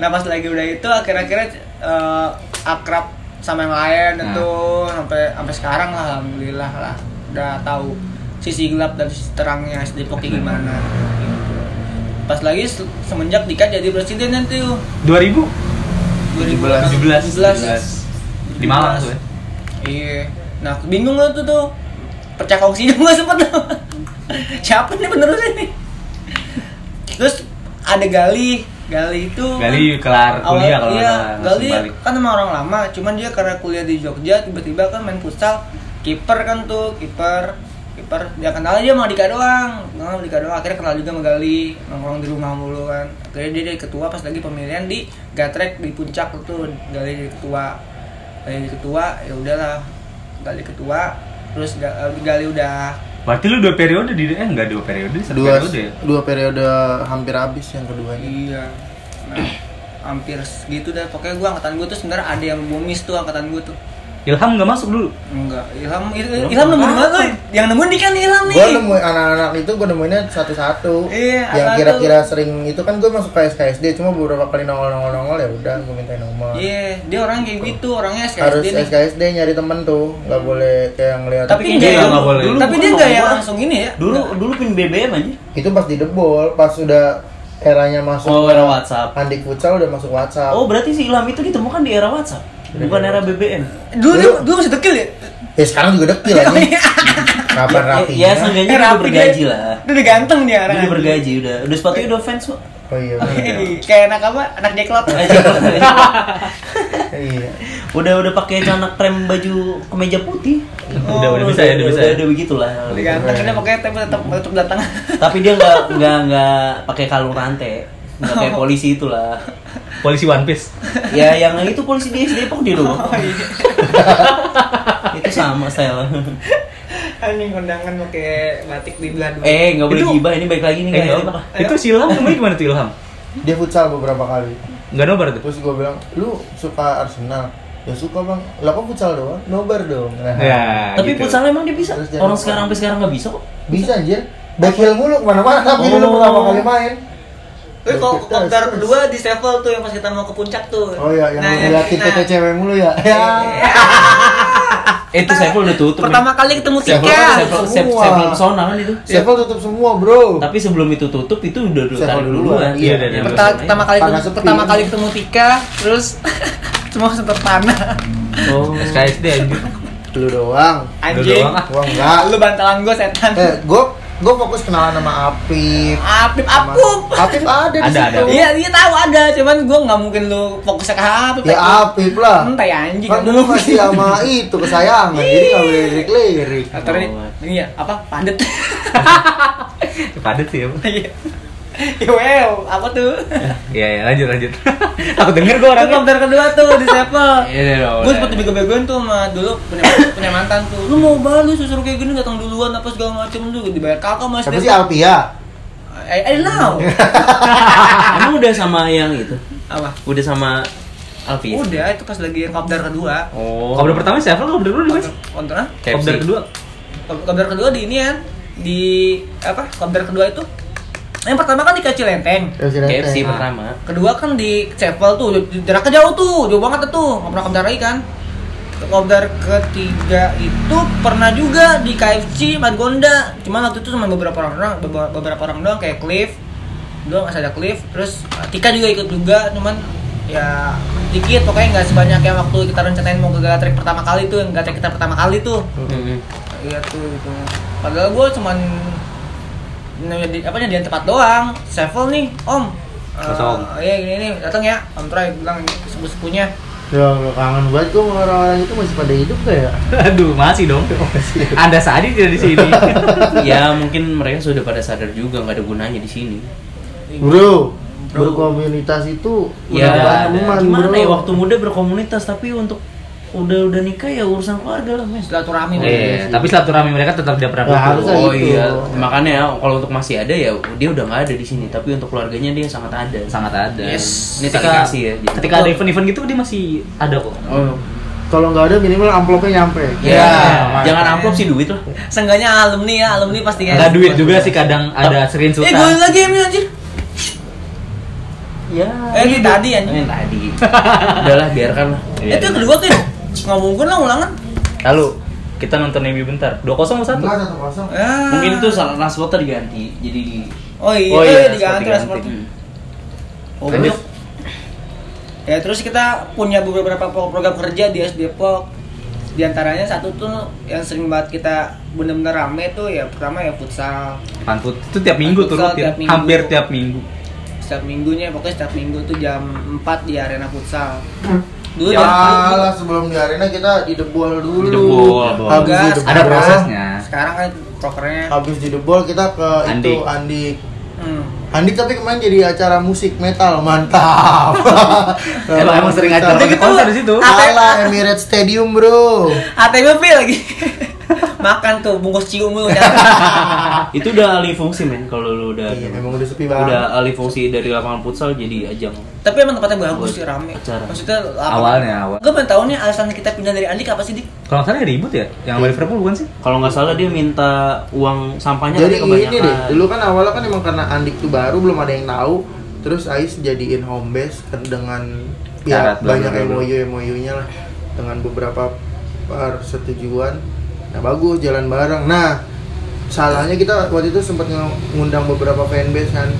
nah pas lagi udah itu akhir-akhirnya eh, akrab sama yang lain
Nah.
itu sampai sampai sekarang lah alhamdulillah lah udah tahu sisi gelap dan sisi terangnya SD Depok kayak gimana gitu. pas lagi se- semenjak Dika jadi presiden nanti tuh
2000
2017
di Malang tuh. ya.
iya nah bingung lo tuh tuh pecah kongsi juga sempet tuh siapa nih penerusnya nih terus ada Gali Gali itu
Gali kelar
awal-
kuliah kalau nggak
iya,
salah, langsung
Gali
balik.
kan sama orang lama cuman dia karena kuliah di Jogja tiba-tiba kan main futsal kiper kan tuh kiper kiper dia kenal aja sama Dika doang kenal sama Dika doang akhirnya kenal juga sama Gali nongkrong di rumah mulu kan akhirnya dia jadi ketua pas lagi pemilihan di Gatrek di puncak tuh Gali jadi ketua Gali jadi ketua ya udahlah Gali ketua terus Ga- Gali udah
Berarti lu dua periode di eh enggak dua periode, satu
Dua
periode ya.
dua periode hampir habis yang keduanya.
Iya. Nah, hampir segitu dah. Pokoknya gue angkatan gue tuh sebenarnya ada yang bomis tuh angkatan gue tuh.
Ilham nggak masuk dulu.
Enggak, Ilham Il- Ilham nemu di mana tuh? Yang nemuin di kan Ilham nih.
gue nemuin anak-anak itu gue nemuinnya satu-satu
Iya,
yang
anak
kira-kira sering itu kan gue masuk ke SKSD cuma beberapa kali nongol-nongol-nongol ya udah gue minta nomor
Iya, dia orang kayak gitu, orangnya SKSD
harus
nih. Hmm.
SKSD nyari temen tuh nggak boleh kayak ngeliat
Tapi
Iya,
dia
nggak boleh.
Tapi
bukan
dia enggak
nomor
yang
gua.
langsung ini ya.
Dulu dulu pin BBM aja.
itu pas di debol pas udah eranya masuk
Oh, era WhatsApp.
Andik Futsal udah masuk WhatsApp
Oh, berarti si Ilham itu ditemukan di era WhatsApp, bukan era BBM.
Dulu dia
Dulu-
dulu masih dekil ya.
ya sekarang juga dekil aja kapan rapi
Ya, seenggaknya dia udah
Rapi dia.
bergaji lah.
Dia udah ganteng dia
Dia
orang.
udah bergaji, udah udah ya? sepatunya udah fans kok.
oh iya bener.
Ini Kayak anak apa? Anak jeklot.
Eh, cepat, cepat.
iya
udah udah pakai celana krem baju kemeja putih.
udah udah bisa ya, udah bisa.
Oh, Udah,
ya.
udah begitulah.
Udah ganteng dia pakai tapi tetap tetap datang.
Tapi dia nggak nggak nggak pakai kalung rantai, nggak kayak polisi itulah.
Polisi One Piece.
Ya yang itu polisi di SD Depok dia dong. itu sama style.
Anjing kondangan pakai batik di belah dua.
eh nggak boleh
Itu-
gibah ini baik lagi nih
Eh,
ya,
guys.
apa? Itu si Ilham namanya gimana tuh Ilham?
dia futsal beberapa kali
Nggak nobar tuh.
terus gue bilang lu suka Arsenal ya suka bang lah kok futsal doang nobar dong nah,
Ya,
Tapi
gitu.
futsalnya emang dia bisa.
Terus dia
Orang
lupa.
sekarang sampai sekarang nggak bisa kok.
bisa anjir back heel mulu kemana-mana tapi dulu
Oh.
pertama kali main
Eh, kok kopdar dua di Sevel tuh yang pas kita mau ke puncak tuh.
oh iya yang
Nah,
ngeliatin
nah, Iya.
tete cewek mulu ya ya
Eh, itu saya udah tutup.
Pertama kali ketemu
Sevel-
Tika.
Sevel-
Ya,
Sevel-
Iya. Semua.
Sevel pesona kan itu.
Sevel tutup semua bro
Tapi sebelum itu tutup itu udah dulu
Sevel
tarik
duluan.
duluan.
Iya,
dari
Yang
dulu.
Perta- pertama kali
Tanah
ketemu,
sepi.
pertama kali ketemu Tika, terus semua sempat tanah.
Oh, SKSD anjir.
lu doang
Anjing.
doang, ah.
gua enggak
Lu bantalan gue setan.
eh gue gue fokus kenalan sama Apip
Apip
Sama-
apup.
Apip ada di
Ada,
situ
ada.
Iya, dia tahu ada, cuman gue nggak mungkin lu fokusnya ke Apip.
ya Apip lah
Entai Hmm, anjing
kan dulu masih sama itu kesayangan jadi nggak boleh lirik-lirik
Atau ini, ini ya, apa? Pandet.
Padat sih ya.
Iya. Well, apa tuh?
Iya, ya, lanjut lanjut. Aku denger gua
Itu
orangnya.
kopdar kedua tuh di Sevel.
Iya,
gue sempet dibego-begoin tuh sama dulu punya, punya mantan tuh lu mau balas suruh kayak gini datang duluan apa segala macem lu dibayar kakak mas
tapi si ya?
Dia-
Alpia
I, I don't know
Emang udah sama yang itu?
apa
Udah sama Alfi.
udah itu pas lagi yang kopdar kedua
Oh. Kabar pertama siapa? Kabar dulu di mana? sih?
kontra
KFC.
Kabar kedua.
kopdar kedua di ini kan di apa kopdar kedua itu yang pertama kan di kecil lenteng
Ya, si Rete.
KFC
Nah.
pertama.
kedua kan di Cepel tuh jaraknya jauh tuh jauh banget tuh nggak pernah kopdar lagi kan kopdar ketiga itu pernah juga di KFC Margonda cuman waktu itu cuma beberapa orang doang beberapa, beberapa orang doang kayak Cliff doang masih ada Cliff terus uh, Tika juga ikut juga cuman ya dikit pokoknya nggak sebanyak yang waktu kita rencanain mau ke Gatrek pertama kali tuh yang Gatrek kita pertama kali tuh iya tuh gitu padahal gue cuman nyedi, apa nyediain tempat doang sevel nih om Eh,
Kosong.
iya gini nih datang ya om Troy bilang sepupu sepunya
Ya, Allah, kangen banget gue sama orang-orang itu masih pada hidup gak ya?
Aduh, masih Iya, dong. Anda saat ini tidak di sini.
ya mungkin mereka sudah pada sadar juga nggak ada gunanya di sini.
Bro, berkomunitas itu udah
Ya ada.
teman,
gimana
bro.
ya waktu muda berkomunitas tapi untuk udah udah nikah ya urusan keluarga lah mes.
silaturahmi
Iya, tapi silaturahmi mereka tetap dia pernah
Nah,
putus.
harusnya
Oh
gitu.
iya, makanya ya, kalau untuk masih ada ya dia udah nggak ada di sini, tapi untuk keluarganya dia sangat ada.
sangat ada.
Yes.
Ini ketika
Sekali kasih ya, dia.
ketika ada event-event gitu dia masih ada kok.
Oh, kalau nggak ada minimal amplopnya nyampe.
Ya,
Ya,
jangan amplop sih duit lah.
Seenggaknya alumni ya alumni pasti
Ada
ya
duit juga sih kadang ada sering
eh
sultan.
gue lagi ya anjir
Ya.
eh ini tadi anjir
Ini tadi. Udahlah biarkan lah.
Iya,
itu yang kedua kan ngomong gue lah ulangan
Lalu kita nonton MU bentar. 2-0 atau
Enggak satu kosong.
Ah.
Mungkin itu salah transporter diganti. Jadi
oh iya,
Oh iya,
oh, iya
transport
diganti
diganti.
transport oh,
Lanjut.
belum. Ya terus kita punya beberapa pro- program kerja di SD Depok. Di antaranya satu tuh yang sering banget kita bener-bener rame tuh ya pertama ya futsal.
1? Pantut itu tiap minggu tuh
Futsal
rutin.
tiap minggu.
Hampir tiap minggu.
Setiap minggunya pokoknya setiap minggu tuh jam 4 di arena futsal. Dulu
Ya,
jam
lah sebelum di arena kita di debol
Di
dulu.
debol, debol.
Habis di
Gas,
debol,
Ada prosesnya.
sekarang kan prokernya
Habis di debol kita ke
Andi.
itu Andi.
hmm,
Andi tapi kemarin jadi acara musik metal mantap.
Emang
gitu
emang sering acara
Metal.
konser di situ.
Apa-
Kalah Emirates Stadium bro.
ATM fee lagi. makan tuh bungkus cium lu ya.
Ah, itu udah alih fungsi men kalau lu udah
Iya, memang udah sepi banget.
udah eh, alih fungsi dari lapangan futsal jadi ajang
tapi emang tempatnya bagus sih rame
Acara.
maksudnya lapangan.
Awalnya, awal.
gue pengen tahu nih alasan kita pindah dari Andik apa sih dik
Kalau nggak salah ribut ya, yang
Iya.
sama Liverpool bukan sih?
kalau nggak salah dia minta uang sampahnya kan
Jadi
tapi
ini deh, dulu kan awalnya kan emang karena Andik tuh baru belum ada yang tahu, terus Ais jadiin home base ke- dengan ya
Syarat, bla,
banyak
bla, bla, bla.
MOU MOU-nya lah dengan beberapa persetujuan. Nah, bagus jalan bareng. Nah, salahnya kita waktu itu sempat nge- ngundang beberapa fanbase kan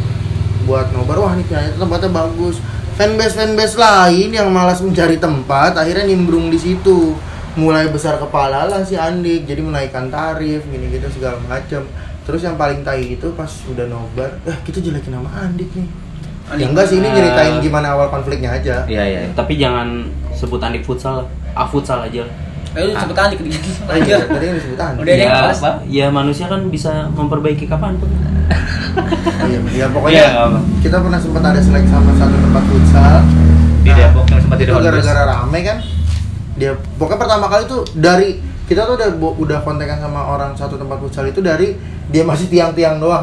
buat nobar wah nih kayaknya tempatnya bagus fanbase fanbase lain yang malas mencari tempat akhirnya nimbrung di situ mulai besar kepala lah si Andik jadi menaikkan tarif gini gitu segala macam terus yang paling tai itu pas udah nobar eh kita jelekin nama Andik nih
Andik.
ya enggak sih ini
Eh.
Ah.
nyeritain gimana awal konfliknya aja
Iya iya.
tapi jangan sebut andik futsal lah. ah futsal aja lah
Eh, lu sebut Andik dik
Oh,
aja
iya.
aja
tadi yang disebut Andik
Udah deh,
Ya,
kelas.
apa?
ya manusia kan bisa memperbaiki kapan pun
Iya, ya
Iya,
pokoknya
nggak apa.
kita pernah sempat ada selek sama satu tempat futsal
Di
Nah,
Depok yang sempat di
itu
Depok.
gara-gara rame kan dia pokoknya pertama kali tuh dari kita tuh udah bo- udah kontekan sama orang satu tempat futsal itu dari dia masih tiang-tiang doang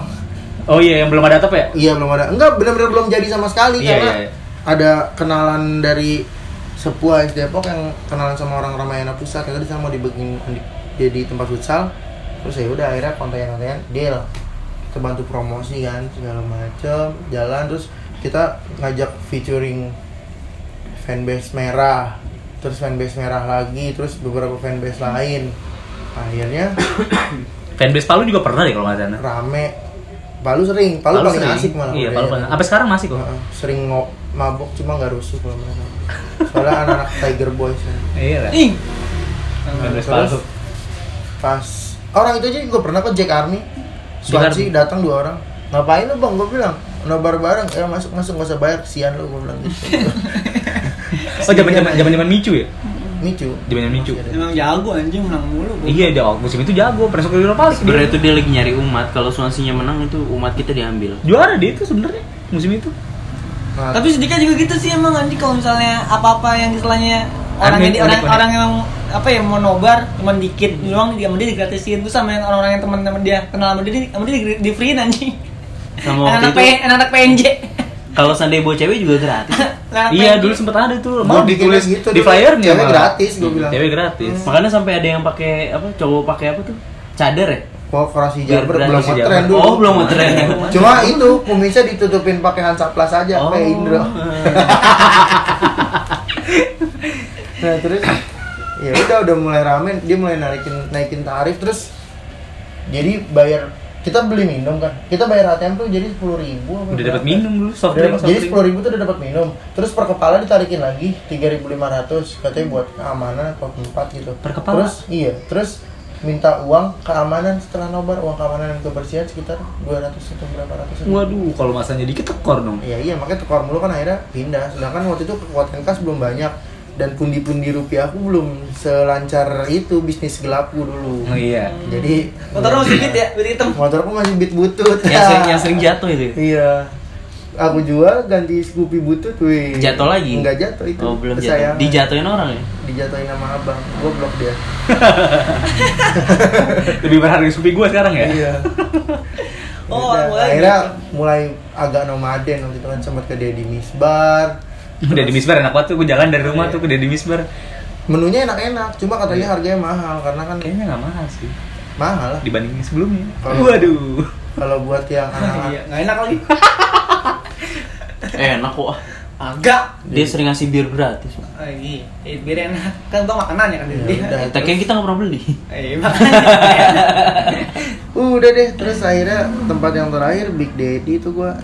Oh iya, yang belum ada atap ya?
iya belum ada enggak benar-benar belum jadi sama sekali
Iya,
karena
iya, iya.
ada kenalan dari sepuh AS Depok yang kenalan sama orang Ramayana Pusat yang tadi sama mau dibikin di- jadi tempat futsal terus ya udah akhirnya konten-konten deal kita bantu promosi kan segala macem jalan terus kita ngajak featuring fanbase merah terus fanbase merah lagi terus beberapa fanbase lain akhirnya
Fanbase Palu juga pernah deh kalau nggak salah.
rame Palu sering Palu, paling
sering.
asik malah
Iya,
udah
Palu
ya.
paling. Sampai sekarang masih kok.
Heeh, sering ngo mabok cuma nggak rusuh kalau mereka soalnya anak-anak Tiger Boys ya.
Iya lah.
ih
Fanbase
Terus,
Palu.
pas orang itu aja gue pernah kok Jack Army Swansea
Army.
datang dua orang ngapain lu bang gue bilang nobar bareng ya masuk masuk gak usah bayar kesian lu gue bilang gitu
Oh, zaman-zaman zaman-zaman Micu ya?
micu
Zaman-zaman Micu.
Masih ada.
emang jago anjing menang mulu gua.
Iya, dia waktu musim itu jago, pernah masuk ke Europa League.
sebenarnya itu dia lagi nyari umat kalau Swansea-nya menang itu umat kita diambil
juara dia itu sebenarnya musim itu.
Nah,
tapi sedikit juga gitu sih emang Andik kalau misalnya apa-apa yang istilahnya orang
Andik,
yang di, orang,
unik, unik.
orang yang apa ya mau nobar cuman dikit doang dia sama dia digratisin terus sama yang orang-orang yang teman-teman dia kenal sama dia di- sama dia di, di free anjing
sama
anak-anak
waktu itu
P- anak-anak PNJ
kalau seandainya bawa cewek juga gratis
Anak-anak
iya,
PNJ.
dulu sempat ada tuh.
Gua
Mau
bikin
ditulis
gitu
di
dulu.
flyernya.
Cewek
malah. Iya,
gratis, gua bilang. Hmm.
Cewek gratis.
makanya sampai ada yang pakai apa cowok pakai apa tuh cadar ya
korporasi
Biar
Jabar belum
berani si
ngetren
Jabar.
dulu
oh belum ngetren
cuma itu kumisnya ditutupin pakai hansaplas aja
Oh.
kayak Indro nah terus ya udah udah mulai ramen dia mulai naikin naikin tarif terus jadi bayar kita beli minum kan kita bayar ATM tuh jadi sepuluh ribu
Udah dapat minum dulu, soft drink, soft
jadi
drink.
sepuluh ribu tuh udah dapat minum terus per kepala ditarikin lagi tiga ribu lima ratus katanya buat keamanan atau tempat gitu
Per kepala?
terus iya terus minta uang keamanan setelah nobar uang keamanan dan kebersihan sekitar dua ratus atau berapa ratus gitu.
Waduh, kalau masanya dikit tekor dong.
Iya iya makanya tukar mulu kan akhirnya pindah. Sedangkan waktu itu kekuatan kas belum banyak dan pundi-pundi rupiah aku belum selancar itu bisnis gelapku dulu.
Oh iya.
Jadi
motor masih dikit ya duit hitam
Motorku masih bit butut.
yang sering yang sering jatuh itu ya?
Iya. Aku jual ganti Scoopy butut, wih.
Jatuh lagi?
Enggak jatuh itu.
oh belum jatuh
Kesayangan.
dijatuhin orang ya
Dijatuhin sama abang. Goblok dia.
Lebih berharga supi gua sekarang ya.
Iya.
Oh,
Udah,
mulai
akhirnya
gitu.
mulai agak nomaden waktu itu kan sempat ke Deddy Misbar.
Udah di Misbar enak banget tuh, gue jalan dari rumah tuh ke Deddy Misbar
Menunya enak-enak, cuma katanya
Iya.
harganya mahal karena kan
Kayaknya gak mahal sih,
mahal lah.
dibandingin sebelumnya
Kalau-
Waduh
kalau buat yang anak-anak
Ah, iya. nggak enak lagi
eh, enak kok
agak
dia sering ngasih bir gratis
lagi eh biar enak kan bang makanan ya kan
Ya,
dia
udah.
Eh, tapi kan kita nggak pernah beli
eh makanya
udah deh terus akhirnya tempat yang terakhir Big Daddy itu gua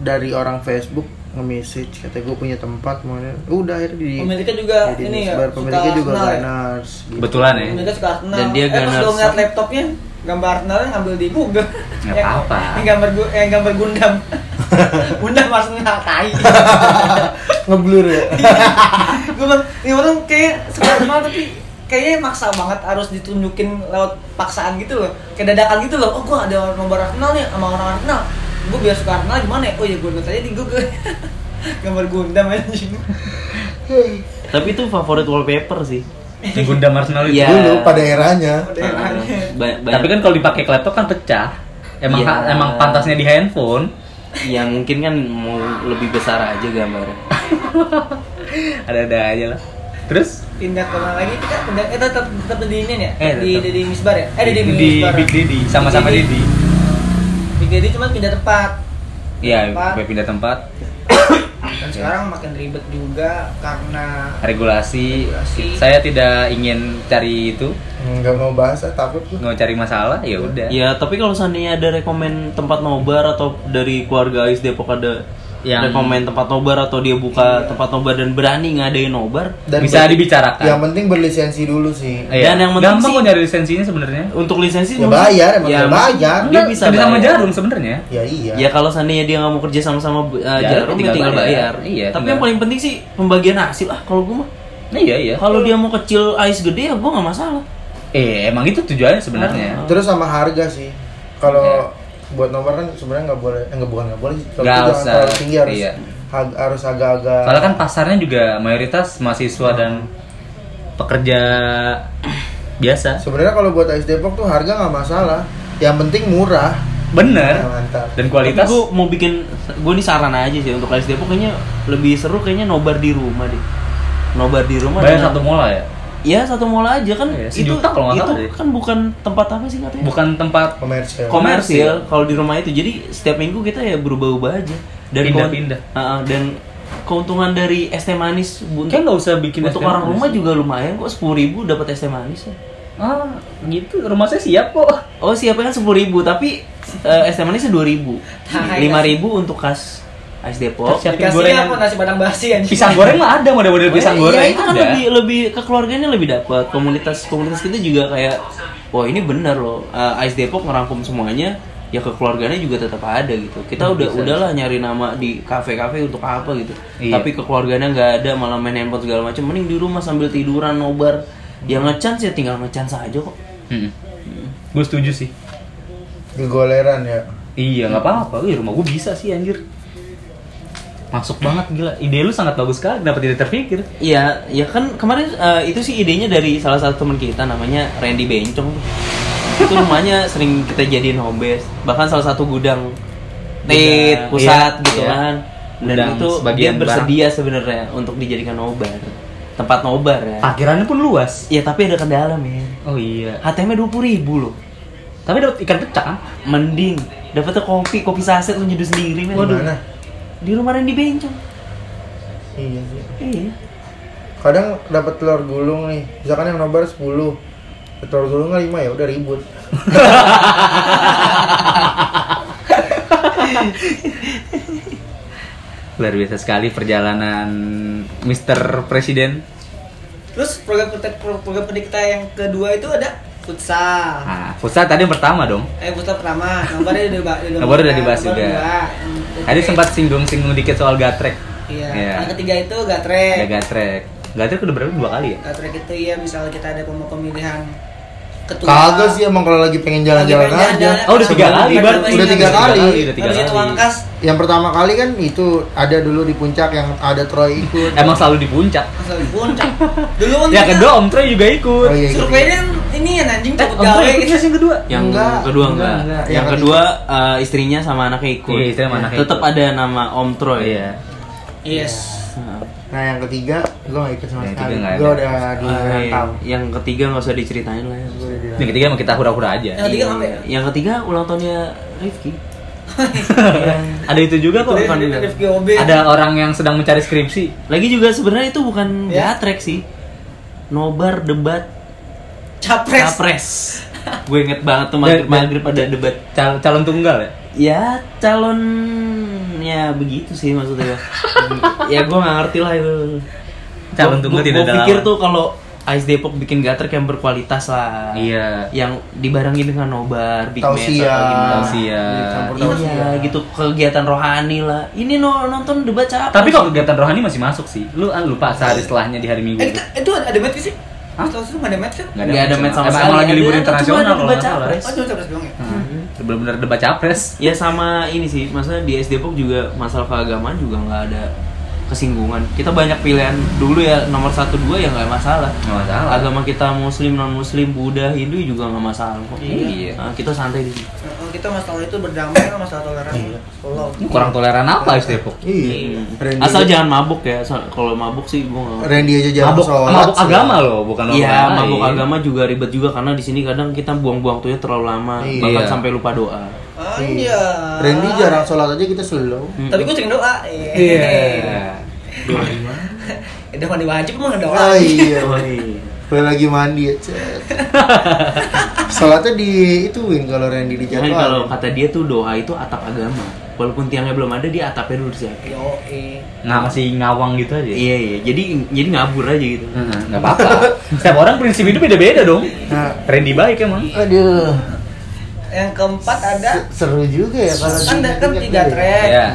dari orang Facebook nge-message kata gue punya tempat mau udah akhirnya di
Pemiliknya juga
di
ini ya,
Nisbar. pemiliknya
suka
juga
Arsenal ya?
Gunners gitu.
Kebetulan ya
mereka suka Arsenal
Dan dia
eh, pas
Gunners.
lo ngeliat laptopnya gambar Arsenal ngambil di Google
Nggak
Yang-
apa-apa.
ini gambar gu- eh, gambar Gundam Gundam Arsenal tai
ngeblur ya
gue bilang ini orang kayak suka Arsenal tapi kayaknya maksa banget harus ditunjukin lewat paksaan gitu loh kayak dadakan gitu loh oh gue ada nomor Arsenal nih sama orang Arsenal gue biar suka Arsenal gimana ya oh ya gue liat aja di Google gambar Gundam anjing
tapi itu favorit wallpaper sih
Yang Gundam Arsenal Oh, itu
Iya.
dulu pada eranya
Udah,
Ah. Banyak, banyak.
Tapi kan kalau dipakai ke laptop kan pecah. Emang
Iya.
ha- emang pantasnya di handphone.
ya mungkin kan mau lebih besar aja gambarnya
Ada-ada aja lah. Terus
pindah ke mana lagi kita pindah kita tetap tetap di ini ya
Eh,
di
tetap.
di, di misbar ya eh di, di,
di
misbar
Big Didi sama-sama
Big
Didi.
Big Daddy cuma pindah tempat
Iya,
Tempat.
gue pindah tempat,
dan sekarang makin ribet juga karena
regulasi.
Regulasi.
Saya tidak ingin cari itu,
Nggak mau bahas, ah, takut gue.
nggak mau cari masalah, ya udah.
ya tapi kalau seandainya ada rekomen tempat nobar atau dari keluarga Ais Depok ada
Yang- Iya.
rekomen tempat nobar atau dia buka tempat nobar dan berani ngadain nobar
Bisa
ber-
dibicarakan.
Yang penting berlisensi dulu sih.
Iya.
Dan yang penting
gampang
sih-
kok nyari lisensinya sebenarnya.
untuk lisensi
Ya
mungkin-
bayar, emang
ya,
ya, bayar.
Dia
Enggak,
bisa
bisa sama
bayar.
jarum sebenarnya.
Ya iya.
Ya kalau seandainya dia nggak mau kerja sama-sama uh,
Jarum
jarum, ya
tinggal
tinggal
bayar.
bayar.
Iya,
Tapi
tinggal.
yang paling penting sih pembagian hasil ah kalau gue mah.
Nah, iya iya.
Kalau dia mau kecil ais gede ya gue nggak masalah.
Eh emang itu tujuannya sebenarnya.
Terus sama harga sih. Kalau buat nomor kan sebenarnya nggak boleh, eh, nggak bukan nggak boleh. sih. Kalau
Iya. Nggak
itu jangan
usah.
terlalu tinggi harus
Iya.
hag- harus agak-agak.
Soalnya kan pasarnya juga mayoritas mahasiswa dan pekerja biasa.
Sebenarnya kalau buat Ais Depok tuh harga nggak masalah. Yang penting murah. Ya,
Bener.
mantap.
Dan kualitas.
Tapi gue mau bikin, gue nih saran aja sih untuk Ais Depok kayaknya lebih seru kayaknya nobar di rumah deh. Nobar di rumah.
Bayar
dengan-
satu mola ya.
Ya satu mola aja kan.
Iya,
itu
sejuta kalau nggak
itu
salah deh.
kan bukan tempat apa sih katanya?
Bukan tempat
Komersial.
komersil kalau di rumah itu. Jadi setiap minggu kita ya berubah-ubah aja. Dan keun-
Pindah-pindah.
Ah, ah, dan keuntungan dari es teh manis bu-
Kayak nggak usah bikin
untuk
SPM
orang
dulu
rumah
sih.
juga lumayan kok sepuluh ribu dapat es teh manis ya.
Ah, gitu. Rumah saya siap kok.
Oh siapa kan sepuluh ribu tapi eh, es teh manisnya dua ribu,
Hai,
lima ribu untuk kas Ais Depok.
Siapin
dikasih
gorengan.
apa nasi padang basi anjing.
Pisang goreng mah ada model-model pisang
Iya,
goreng.
itu kan
ya? ada.
lebih lebih kekeluarganya lebih dapat komunitas komunitas kita juga kayak wah ini bener loh Eh, Ais Depok ngerangkum semuanya ya kekeluarganya juga tetap ada gitu
Hmm,
kita udah udahlah nyari nama di kafe-kafe untuk apa gitu
Iya.
tapi kekeluarganya nggak ada malah main handphone segala macam mending di rumah sambil tiduran nobar yang ngecans ya tinggal ngecans aja kok
Mm-mm. Gue setuju sih.
Gegoleran ya.
Iya nggak apa-apa, Wih, rumah gue bisa sih anjir Masuk banget gila, ide lu sangat bagus sekali, kenapa tidak terpikir
Iya, ya kan kemarin eh, itu sih idenya dari salah satu teman kita namanya Randy Bencong. Itu rumahnya sering kita jadiin home base, bahkan salah satu gudang tit
Gudang,
pusat
iya,
gitu
iya.
kan. Dan
Gudang
itu
sebagian
dia bersedia sebenarnya untuk dijadikan nobar. Tempat nobar ya.
Parkirannya pun luas
Ya tapi ada ya. kendala men.
Oh iya
HTM-nya 20 ribu loh.
Tapi dapat ikan pecah kan?
Mending dapetnya kopi, kopi saset lu nyeduh sendiri men.
Waduh. Mana?
Di rumah Randy Bencong.
Iya sih.
Iya.
Kadang dapat telur gulung nih. Misalkan yang nobar 10. Telur gulungnya 5 ya udah ribut.
Luar biasa sekali perjalanan Mr. Presiden
Terus program kita program pendidik kita yang kedua itu ada futsal.
Nah, pusat tadi yang pertama dong
Eh futsal pertama, nomornya udah dibahas.
Nomornya udah dibahas juga. Tadi sempat singgung-singgung dikit soal gatrek
Iya.
Iya.
Yang ketiga itu
Ada
gatrek.
gatrek Gatrek udah berapa? Dua kali ya?
Gatrek itu ya misalnya kita ada pem- pemilihan ketua.
Kagak sih emang kalau lagi pengen jalan-jalan
Iya. Lagi pengen
aja.
jalan-jalan.
Oh udah tiga
Sama
kali
lagi,
berarti
udah tiga
kali.
Udah tiga
Habis itu
kali
angkas
Yang pertama kali kan itu ada dulu di puncak yang ada Troy ikut.
Emang selalu di puncak
asal di puncak. Dulu kan
Ya kedua Om Troy juga ikut
Oh, iya, iya.
Surveinya ini ya anjing
Eh,
cepet
Om Troy
gawe.
ikut nggak sih yang kedua?
Yang
Enggak,
kedua
enggak,
enggak.
enggak.
Yang,
Yang
kedua eh, istrinya sama anaknya ikut.
Iya, istrinya sama anaknya
Tetap
ikut.
ada nama Om Troy.
Iya
Yes.
Nah,
Nah yang ketiga gue gak ikut sama
Yang
sekali.
ketiga nggak
Gue
ada.
udah di
eh,
rantau.
yang ketiga nggak usah diceritain lah ya.
Gua udah di
Yang ketiga emang kita hura-hura aja.
Yang ketiga apa ya?
Yang ketiga ulang tahunnya Rifki.
Ada itu juga kok.
Itu
bukan
dari-
juga.
dari FGOB.
Ada orang yang sedang mencari skripsi.
Lagi juga sebenarnya itu bukan
Ya.
gatrek sih. Nobar debat
Capres.
capres. Gue inget banget tuh
Dan-
maghrib, maghrib ada debat.
Cal- calon tunggal ya.
Ya calonnya begitu sih maksudnya. ya gue nggak ngerti lah itu.
Calon tunggal tidak
Gue
ada
pikir
lawan.
tuh kalau Ais Depok bikin gatrek yang berkualitas lah.
Iya.
yang dibarengi dengan nobar, big Mass
Tausiah.
atau gimana.
Tausiah.
Campur
Iya,
tausiah.
gitu kegiatan rohani lah. Ini no, nonton debat capres.
Tapi kalau kegiatan rohani masih masuk sih. Lu ah, lupa sehari setelahnya di hari Minggu.
Eh kita itu ada ada match sih?
Iya. Hah?
Tahu sih nggak ada match kan?
Nggak
Nggak ada match sama
Emang-
sekali.
Emang lagi
Ada-
libur
ada-
internasional
cuma ada
kalau
debat
nggak salah.
capres.
Oh, cuma capres doang ya.
Hmm. Bener-bener debat capres.
Ya sama ini sih, maksudnya di SD Depok juga masalah keagamaan juga nggak ada kesinggungan kita banyak pilihan dulu ya nomor satu dua ya nggak masalah
Nggak masalah.
agama kita muslim non muslim buddha hindu juga nggak masalah kok
Iya.
Nah, kita santai di sini
Nah, kita masalah itu berdamai sama masalah toleransi. Tolong.
Ini kurang toleran apa ya, Ais Depok?
Iya. Randy
Hmm. asal
aja-
jangan mabuk ya Asal- kalau mabuk sih gua nggak
Randy aja jarang
Mabuk,
sholat.
mabuk
sih.
agama loh, bukan orang
Iya,
lain.
mabuk agama juga ribet juga karena di sini kadang kita buang-buang waktunya terlalu lama,
Iya.
bahkan sampai lupa doa.
Iya.
Anja.
Randy jarang sholat aja kita slow.
Tapi
Hmm.
gue sering doa. Iya.
Iya.
Udah mandi Eh, wajib emang doa.
Oh iya. Gue lagi mandi ya, cet. Sholatnya di ituin kalau Randy di
Cuman
jadwal.
kalau kata dia tuh doa itu atap agama. Walaupun tiangnya belum ada, dia atapnya dulu siapin.
Yo, eh.
Nah, masih ngawang gitu aja.
Iya iya, jadi jadi ngabur aja gitu.
Hmm.
Heeh, nggak apa-apa. Setiap orang prinsip hidup beda-beda dong.
Nah,
Randy baik emang.
aduh.
Yang keempat ada
se- Seru juga ya kalau
kan ada kan
diingat-ingat
tiga
ya.
track.
Iya.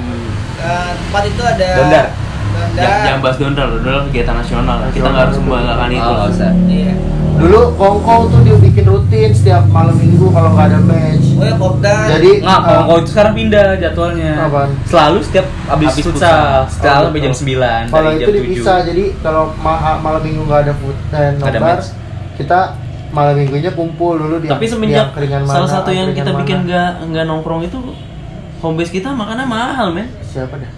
Eh, Empat itu ada
Dondar.
Dondar.
Jangan, jangan bahas dondol, dondol kegiatan nasional. Kita Oh, nggak harus membanggakan itu.
nggak usah.
Iya.
Dulu Kongkow tuh dia bikin rutin setiap malam minggu kalau nggak ada match.
Oh ya kopdar.
Jadi
Nggak,
eh,
kalau kau itu sekarang pindah jadwalnya.
Apaan?
Selalu setiap habis
Habis
futsal,
futsal.
selalu sampai
Oh,
jam
betul.
9
kalau
dari jam
itu dipisah jadi kalau ma- malam minggu nggak ada food eh,
Nggak ada
nobar,
match.
kita malam minggunya kumpul dulu di
7. Tapi
di
semenjak
angkringan mana,
salah satu yang
angkringan
kita
mana.
bikin nggak nggak nongkrong itu home base kita makannya mahal men.
siapa dah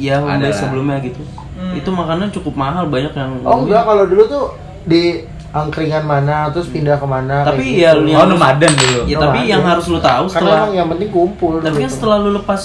Iya home base
Ada.
sebelumnya gitu.
Hmm.
Itu makanan cukup mahal banyak yang.
oh enggak kalau dulu tuh di angkringan mana terus pindah kemana
Tapi
kayak
ya
gitu.
lu
Oh, nomaden dulu.
Ya
Nggak
tapi
ada.
yang harus lu tahu
karena
setelah
emang yang penting kumpul
tapi
dulu
kan
tuh.
setelah lu lepas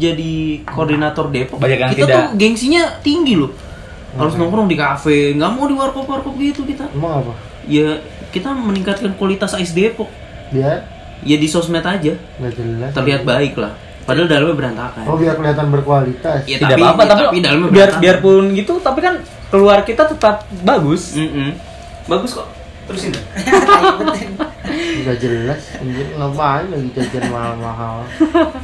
jadi koordinator Depok,
Banyak yang
kita
tidak.
tuh gengsinya tinggi loh.
Hmm.
Harus nongkrong di kafe, nggak mau di warkop warkop gitu kita.
emang apa
Ya kita meningkatkan kualitas ais Depok.
biar
Ya di sosmed aja
nggak jelas
terlihat baik lah. Padahal dalamnya berantakan.
oh biar kelihatan berkualitas
Ya,
Tidak
tapi-
apa-apa, Iya, tapi,
tapi dalamnya
biar
berantakan.
biarpun gitu, tapi kan keluar kita tetap bagus.
Mm-mm. Bagus kok. Terusin. dah.
nggak jelas anjir ngapain lagi jajan mahal-mahal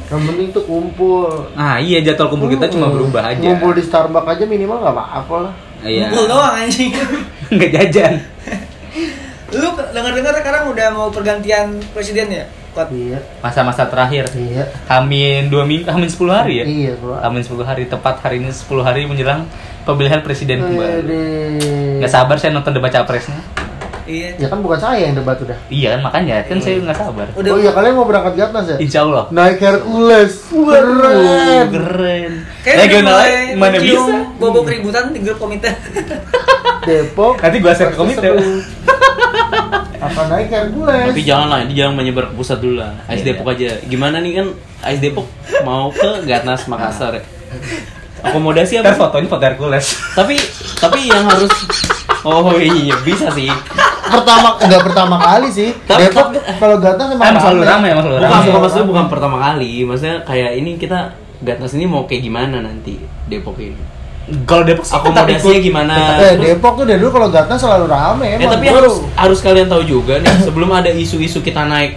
yang penting tuh kumpul
Nah, iya jadwal kumpul kita cuma
Hmm.
berubah aja.
Kumpul di Starbucks aja minimal nggak apa-apa lah.
Iya.
Kumpul doang anjing.
Nggak jajan.
Lu dengar-dengar sekarang udah mau pergantian presiden ya? Kot.
Iya,
Masa-masa terakhir.
iya,
Hamin 2 minggu, hamin 10 hari ya?
iya bro.
Hamin 10 hari, tepat hari ini 10 hari menjelang pemilihan
Oh, iya,
presiden kembali.
Aduh.
Nggak sabar saya nonton debat capresnya.
Iya.
Ya kan bukan saya yang debat udah.
Iya kan makanya, kan saya nggak sabar.
Udah
Oh iya kalian mau berangkat Gatnas ya?
Insya Allah.
Naik Hercules. Keren.
Keren.
Kayaknya
Regional
udah
eh,
mulai
mana
mencium
bisa?
Bobo keributan di grup komite.
Depok.
Nanti gua share ke komite.
Apa naik Hercules?
Tapi jangan lah, ini jangan menyebar ke pusat dulu lah. Ais Depok aja. Gimana nih kan Ais Depok mau ke Gatnas Makassar ya? Akomodasi
Ntar
apa?
fotonya foto Hercules.
tapi tapi yang harus oh iya bisa sih
pertama enggak pertama kali sih.
Tapi-
Depok
tapi-
kalau Gatnas emang
Emang selalu ramai, emang selalu
bukan
ramai.
bukan maksudnya bukan pertama kali maksudnya kayak ini kita Gatnas ini mau kayak gimana nanti Depok ini
Kalau Depok sih tetap
akomodasinya
ikut.
gimana
Eh,
Terus-
Depok tuh dari dulu kalau Gatnas selalu ramai
eh,
emang.
tapi
bro.
harus harus kalian tahu juga nih sebelum ada isu-isu kita naik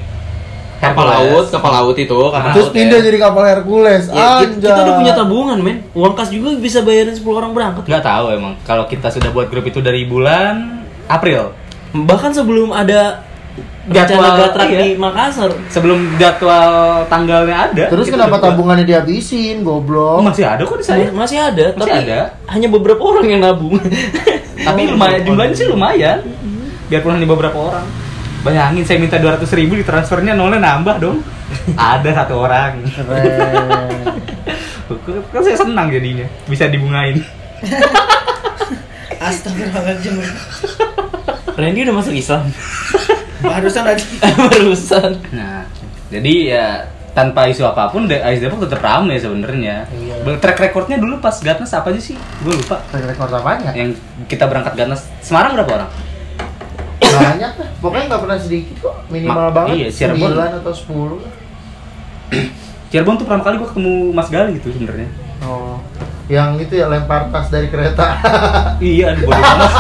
kapal
Hercules.
laut kapal laut itu kapal
terus
laut ya.
pindah jadi kapal Hercules.
Ya, ki-
Anjay.
kita udah punya tabungan men uang kas juga bisa bayarin 10 orang berangkat
Nggak tahu emang. Kalau kita sudah buat grup itu dari bulan April.
bahkan sebelum ada
Jadwal,
rencana gatrak
iya.
di Makassar
Sebelum jadwal tanggalnya ada.
Terus
kita
kenapa
udah buat.
tabungannya dihabisin,
Oh,
goblok?
masih ada kok di saya.
masih ada
Masih
tapi
ada.
hanya beberapa orang yang nabung
Tapi lumayan jumlahnya sih lumayan. Biarpun hanya beberapa orang. Bayangin saya minta 200 ribu ditransfernya nolnya nambah dong. ada satu orang.
Keren.
Kan saya senang jadinya bisa dibungain.
Astagfirullahaladzim.
Randy udah masuk Islam
Barusan tadi.
barusan
Nah, jadi ya tanpa isu apapun De- Ais Depok tetap ramai sebenarnya.
Iya.
Ber- Track recordnya dulu pas Gatnas apa aja sih? Gue lupa.
Track record apaan ya?
Yang kita berangkat Gatnas Semarang berapa orang?
Banyak lah. Pokoknya nggak pernah sedikit kok. Minimal
Ma-
banget.
iya, Cirebon.
9 atau 10 lah.
Cirebon tuh pertama kali gue ketemu Mas Gali gitu sebenarnya.
Oh. Yang itu ya lempar tas dari kereta.
iya, aduh bodoh amat.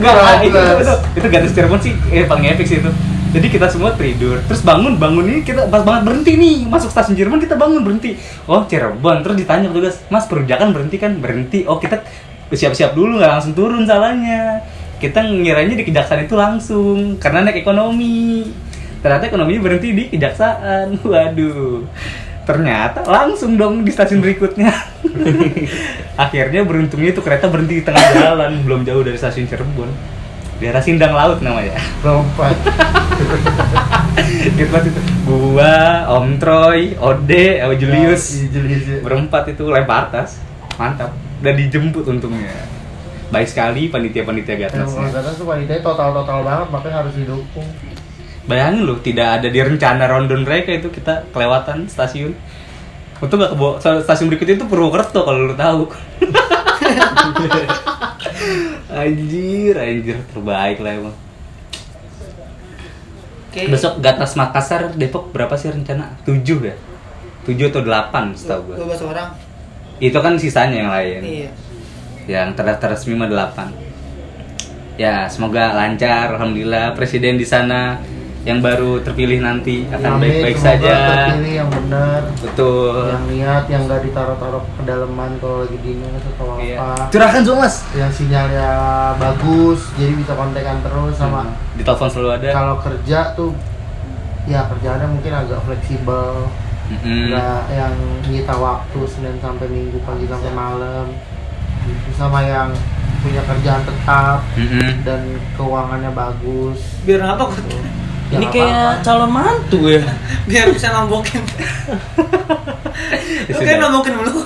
Enggak,
Keren,
itu,
keren.
itu, itu Gatnas Cirebon sih eh, paling epic sih itu. Jadi kita semua tidur, terus bangun bangun ini kita pas banget berhenti nih masuk stasiun Cirebon kita bangun berhenti. Oh Cirebon terus ditanya petugas, Mas perujakan berhenti kan berhenti. Oh kita siap-siap dulu nggak langsung turun salahnya. Kita ngiranya di kejaksaan itu langsung karena naik ekonomi. Ternyata ekonominya berhenti di kejaksaan. Waduh. ternyata langsung dong di stasiun berikutnya akhirnya beruntungnya itu kereta berhenti di tengah jalan belum jauh dari stasiun Cirebon daerah Sindang Laut namanya
lompat
gitu lah itu gua Om Troy Ode Om Julius
Julius ya.
berempat itu lempar tas mantap dan dijemput untungnya baik sekali panitia-panitia
Yang
gatnas
kalau kata tuh wanitanya total-total banget makanya harus didukung
bayangin loh tidak ada di rencana rondon mereka itu kita kelewatan stasiun untung gak kebawa stasiun berikutnya itu Purwokerto kalau lu tahu anjir anjir terbaik lah emang
Oke.
besok Gatnas Makassar Depok berapa sih rencana 7 ya 7 atau 8 setahu gua
12 orang.
itu kan sisanya yang lain
Iya.
yang terdaftar resmi mah 8 ya semoga lancar alhamdulillah presiden di sana yang baru terpilih nanti akan
Amin,
baik-baik
semoga
saja
terpilih Ya, yang benar
betul
yang niat yang nggak ditaruh-taruh ke dalaman kalau lagi dinas atau apa
Iya. curahkan dong mas
yang sinyalnya bagus jadi bisa kontekan terus sama
di telepon selalu ada
kalau kerja tuh ya kerjaannya mungkin agak fleksibel
Mm-mm.
nggak yang nyita waktu senin sampai minggu pagi sampai malam Gitu. sama yang punya kerjaan tetap
Mm-mm.
dan keuangannya bagus
Biar apa? Kut?
Ya,
Ini
nggak apa-apa.
kayak calon mantu ya.
Biar bisa nombokin.
Ya
Lu kan
sudah.
nombokin mulu.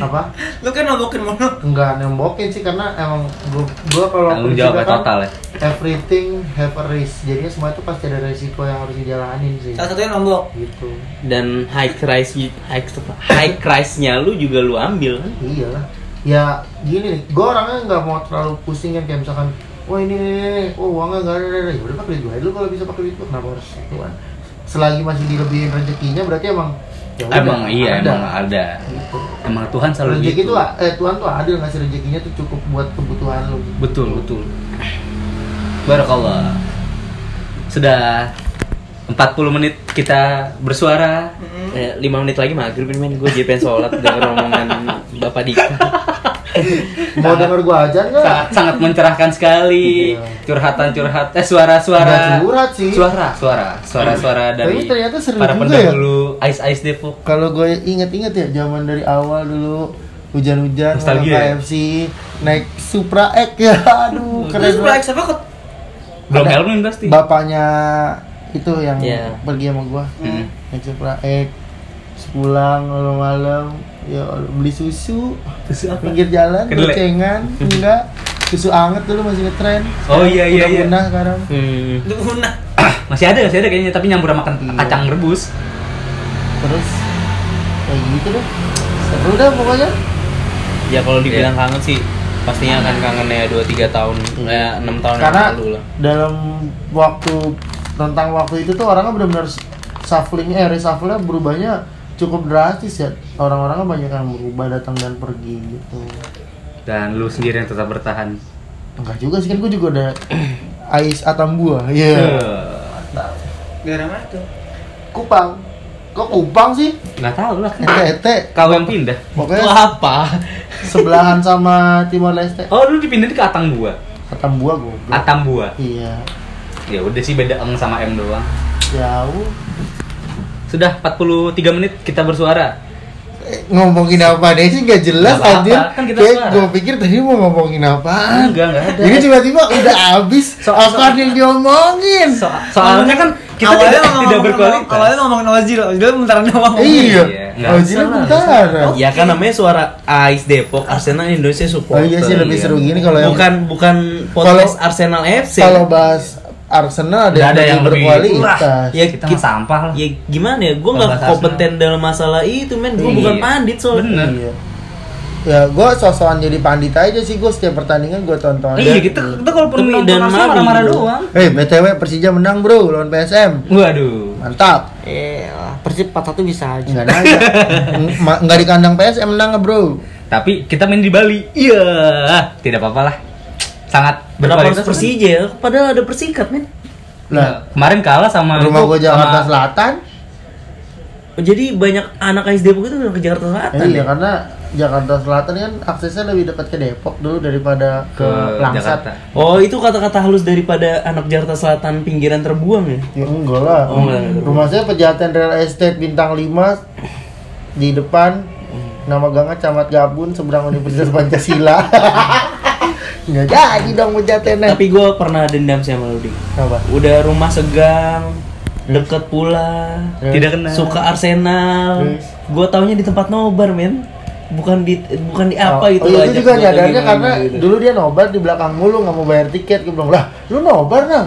apa
Lu kan nombokin mulu.
nggak nembokin sih karena emang gua, gua kalau
tanggung jawabnya
prinsipnya kan,
total ya
everything have a risk jadi semua itu pasti ada resiko yang harus dijalanin sih
Salah satunya nombok.
gitu
dan high price high, high price-nya lu juga lu ambil kan
iya lah. ya gini nih gue orangnya nggak mau terlalu pusing kan kayak misalkan wah ini ini, ini, oh uangnya nggak ada, ada ada." ya udah pakai duit gue dulu kalau bisa pakai duit gue kenapa harus itu kan selagi masih dilebihin rezekinya berarti emang ya udah,
emang iya
ada.
emang ada
Gitu.
emang Tuhan selalu
rezeki
gitu
tuh eh Tuhan tuh adil ngasih rezekinya tuh cukup buat kebutuhan lu
betul betul barakallah sudah 40 menit kita bersuara
Mm-hmm.
Eh, lima menit lagi maghrib ini men gue jadi pengen sholat denger omongan bapak Dika
mau denger gue aja
sangat
nggak
sangat mencerahkan sekali
Iya.
curhatan curhat eh suara suara
Nggak curhat sih.
suara suara suara suara dari
Tapi ternyata seru
para
juga ya.
pendahulu Ice Ice Depok
kalau gue inget-inget ya zaman dari awal dulu hujan-hujan
Nostalgia ya?
KFC naik Supra X ya aduh keren
Terus Black
banget
siapa Kut?
belum
Ada.
helmin pasti
bapaknya itu yang
Iya.
pergi sama gua
Mm.
naik Supra X Terus pulang malam-malam ya Allah, beli susu
Susu apa?
pinggir jalan
Kedelai.
gocengan enggak susu anget dulu masih ngetren
Oh, iya, iya,
udah
iya.
punah sekarang
hmm.
Lu punah.
masih ada masih ada kayaknya tapi nyampur sama kan-
Iya.
kacang rebus
terus kayak gitu deh seru dah pokoknya
ya kalau dibilang kangen sih pastinya akan kangen ya dua tiga tahun
Hmm.
ya enam tahun yang
karena
lalu lah
dalam waktu tentang waktu itu tuh orangnya benar-benar shufflingnya eh reshuffle-nya berubahnya cukup drastis ya orang-orangnya banyak yang berubah datang dan pergi gitu
dan lu sendiri yang tetap bertahan
enggak juga sih kan gue juga ada Ais Atambua iya
Eh,
Daerah mana tuh?
Kupang kok Kupang sih
nggak tahu lah
NTT
kau yang pindah
Lu
pokoknya
apa
sebelahan sama Timor Leste
oh lu dipindahin ke Atang Bua
Atambua gue
Atam Bua
iya
ya udah sih beda eng sama M doang
jauh
sudah 43 menit kita bersuara
Eh, ngomongin apa deh sih nggak
Nggak
jelas
apa-apa,
anjir
kan kita suara.
kayak gue pikir tadi mau ngomongin apaan
enggak enggak ada
Ini tiba-tiba udah habis
So-
apa yang diomongin?
So- soalnya kan kita
awalnya
tidak,
ngomong-
tidak
ngomong-
berkualitas
Awalnya ngomongin Ozil, Ozil bentar doang.
iya.
iya, nggak
Oh, jadi
salah,
bentar.
ya kan namanya suara Ais Depok Arsenal Indonesia
Oh
support
iya sih lebih seru gini kalau yang
bukan bukan podcast Arsenal FC
kalau bahas Arsenal ada,
Nggak ada yang lebih-
berkualitas. Iya,
ya
Iya, kita mah sampah lah
ya gimana ya gue nggak
Pembahasan.
kompeten dalam masalah itu men gue
Iya.
bukan pandit soalnya
bener
Iya. Ya, gue sosokan jadi pandit aja sih gue setiap pertandingan gue tonton.
iya kita kita kalau
Tapi
pernah
dan
nonton Arsenal
Mari.
marah-marah doang
Eh, BTW Persija menang, Bro, lawan PSM.
waduh
Mantap.
Eh, Persib 4-1 bisa aja.
Enggak nanya. Ng- ma- Nggak di kandang PSM menang, Bro.
tapi kita main di Bali iya tidak apa-apa lah sangat
berapa
berkualitas
Persija ya? padahal ada persikat men
Lah,
kemarin kalah sama Iya.
rumah
itu,
gue Jakarta
sama-
Selatan.
Jadi banyak anak AS Depok itu udah ke Jakarta Selatan
Eh, iya,
ya?
karena Jakarta Selatan kan aksesnya lebih dekat ke Depok dulu daripada ke,
Ke
Langsat.
Jakarta.
Oh, itu kata-kata halus daripada anak Jakarta Selatan pinggiran terbuang ya?
Ya enggak lah.
Oh, enggak, enggak.
Rumah saya pejaten real estate bintang 5 di depan nama gangnya Camat Gabun seberang Universitas Pancasila. Nggak jadi dong pejatennya.
Tapi gue pernah dendam sih sama lu, Dik.
Kenapa?
Udah rumah segang, deket pula,
Tidak kena.
suka Arsenal.
Terus?
Gue taunya di tempat nobar, men. Bukan di bukan di
Oh,
apa gitu.
oh,
lu
iya,
ajak
itu juga
gua kayak
nyadarnya
gimana
karena
gitu.
dulu dia nobar di belakang mulu nggak mau bayar tiket gue bilang lah lu nobar nang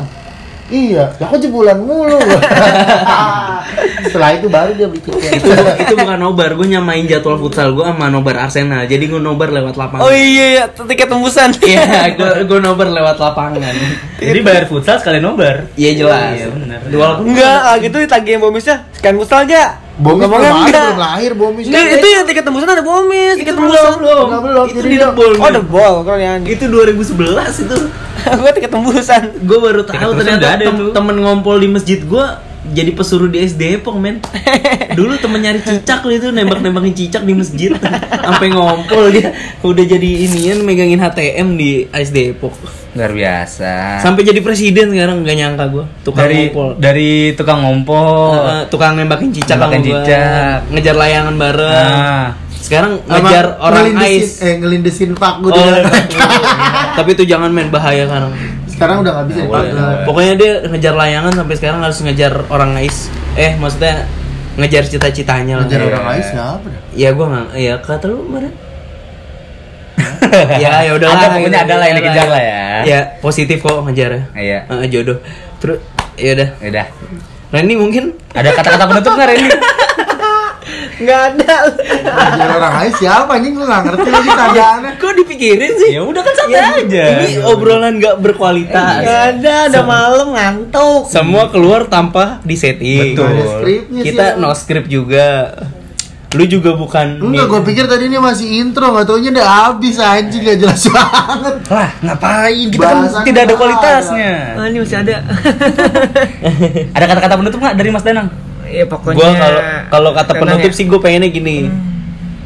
iya lah kok jebulan mulu setelah itu baru dia beli tiket
itu itu bukan nobar, gue nyamain jadwal futsal gue sama nobar Arsenal. Jadi gue nobar lewat lapangan.
Oh iya, iya, tiket tembusan.
Iya, gue gue nobar lewat lapangan.
Jadi bayar futsal sekali nobar.
Iya jelas.
Iya, benar.
Walaupun
Enggak, ah, gitu ditagih bomisnya. Sekian futsal aja.
bomis belum
Ngomongnya
lahir
enggak.
belum lahir bomis
Enggak, itu yang tiket tembusan ada bomis, tiket tembusan.
belum belum jadi
itu di
dia-
Debol.
Oh, the ball kalau yang
itu 2011 itu.
gua tiket tembusan.
Gue baru
Tiga terusan
tahu
udah
ternyata
ada
tem-
lu.
temen ngompol di masjid gue jadi pesuruh di SD Depok men dulu temen nyari cicak lu itu nembak nembakin cicak di masjid sampai ngompol dia udah jadi inian megangin HTM di SD Depok
Nah.
Luar biasa.
sampai jadi presiden sekarang nggak nyangka gue tukang
dari
ngompol
dari tukang
Oh.
ngompol.
Eh, tukang nembakin cicak
Nembakin
sama gua.
cicak.
ngejar layangan bareng
Nah,
sekarang
Sama
ngejar orang
ngelindesin-
ais
eh ngelindesin pak gue
Oh, tapi itu jangan main bahaya sekarang
sekarang udah nggak bisa
Oh,
Nggak
Pak.
iya.
boleh, nggak boleh.
pokoknya dia ngejar layangan sampai sekarang harus ngejar orang ais eh maksudnya ngejar cita-citanya lah
ngejar
Iya.
orang ais nggak apa dah.
ya gua nggak ya kata lu kemarin ya ya udah
Ada, pokoknya ada lah yang dikejar lah ya.
ya positif kok ngejar ya
Iya.
Eh, jodoh terus ya udah
Udah.
Randy mungkin
Ada kata-kata penutup enggak Reni?
Nggak ada.
ngejar orang ais siapa anjing lu nggak ngerti lagi tanyaannya
kok dipikirin sih
ya udah kan santai
Ya,
aja.
Ini obrolan nggak berkualitas.
Nggak ada. Udah malam ngantuk.
Iya. Semua keluar tanpa disetting.
Nggak ada skripnya
Kita
sih,
no script juga. Lu juga bukan.
Enggak, gue pikir tadi ini masih intro, gak taunya udah habis anjing gak jelas banget
Lah, ngapain? Kita
Bahasan
kan tidak ada
apa?
kualitasnya.
Ah, ini masih ada.
Ada kata-kata penutup nggak dari Mas Danang?
ya pokoknya.
Gua kalau kalau kata
tenang
penutup
ya.
sih gue pengennya gini.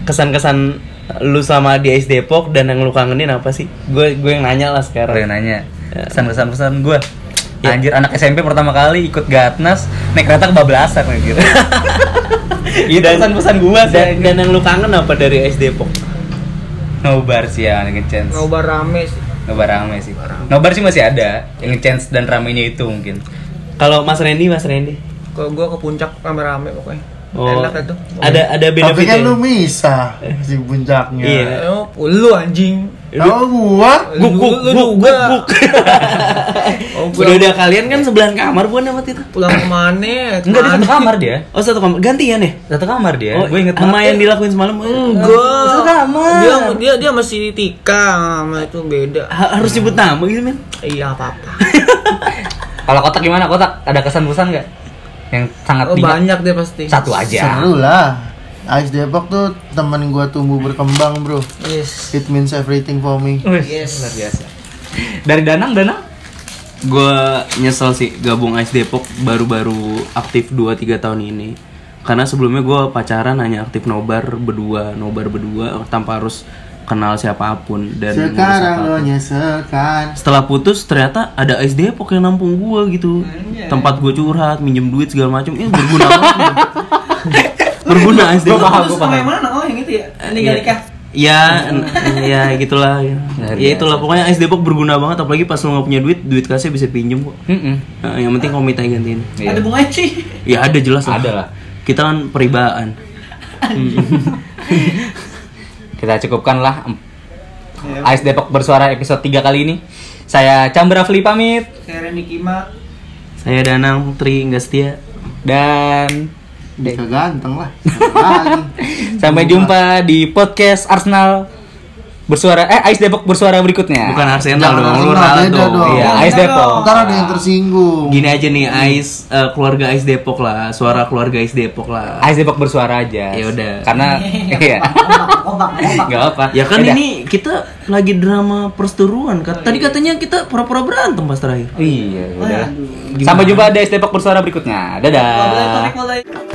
Kesan-kesan lu sama di Ice Depok dan yang lu kangenin apa sih? Gue gue yang nanya lah
Ada yang
sekarang.
nanya. Pesan-pesan gue. Anjir anak SMP pertama kali ikut Gatnas naik kereta kebablasan kayak gitu. Itu
Dan-
pesan-pesan gua sih.
Dan, dan yang lu kangen apa dari Ice Depok?
Nobar sih ya ngechance.
ngobar rame sih.
Nobar rame sih. Nobar sih masih ada. Yang ngechance dan ramenya itu mungkin.
Kalau Mas Randy, Mas Randy.
Kalau gua ke puncak rame-rame pokoknya.
Oh,
Enak itu.
ada ada
Tapi kan
benefitnya.
lu misah si puncaknya
Iya.
Oh, lu anjing.
Kalau gua
Guk guk
Lu
guk
juga. Oh,
guk guk. Udah udah kalian kan sebelahan kamar bukan sama Tita?
Pulang ya? ke mana?
Enggak di satu kamar dia.
Oh satu kamar gantian ya?
Satu kamar dia.
Oh,
gue inget
sama yang
Iya, banget.
dilakuin semalam
Enggak.
Satu kamar.
Dia dia dia masih Tika sama itu beda.
Ha- harus sebut nama gitu men.
Iya apa-apa.
Kalau kotak gimana kotak? Ada kesan-pesan nggak? Yang sangat
Oh,
diingat?
banyak deh pasti.
Satu
Ya.
aja.
seru lah Ais Depok tuh temen gua tumbuh berkembang bro
Yes.
It means everything for me
Yes.
Luar biasa. Dari Danang, Danang?
Gue nyesel sih gabung Ice Depok baru-baru aktif 2-3 tahun ini Karena sebelumnya gue pacaran hanya aktif nobar berdua Nobar berdua tanpa harus kenal siapapun dan ngurus
Sekarang lo
apapun.
nyeselkan
setelah putus ternyata ada Ice Depok yang nampung gua gitu tempat gua curhat minjem duit segala macam ini berguna banget men. berguna Ice
Gua
Depok
paham,
Terus
gua
sama
paham.
yang mana? Oh, yang itu ya.
Iya.
Nikah nikah.
Ya, n- ya gitulah. Ya,
Luar
Ya, itulah pokoknya Ice Depok berguna banget apalagi pas lo nggak punya duit, duit kasnya bisa pinjem kok.
Heeh.
Nah, yang penting komite gantiin.
Iya.
Ada bunga sih.
Ya ada jelas lah.
Ada lah.
Kita kan peribaan.
Kita cukupkan lah. Ais Depok bersuara episode 3 kali ini. Saya Chandra Fli pamit
Saya Randy Kima.
Saya Danang Tri nggak setia.
dan
Bisa ganteng lah Ganteng lagi.
sampai jumpa di podcast Arsenal bersuara eh Ais Depok bersuara berikutnya.
Bukan Arsenal
Jangan
dong, lu
Arsenal,
ralat
beda
dong.
dong.
Iya, Ais Depok.
Ntar ada yang tersinggung
Gini aja nih Ice eh, keluarga Ice Depok lah, suara keluarga Ice Depok lah.
Ais Depok bersuara aja.
Ya udah.
Karena iya. Enggak apa.
Ya kan
Udah.
ini kita lagi drama perseteruan. Kat- Tadi katanya kita pura-pura berantem pas terakhir.
Iya, udah. Sampai jumpa di Ais Depok bersuara berikutnya. Dadah.
Boleh tarik boleh.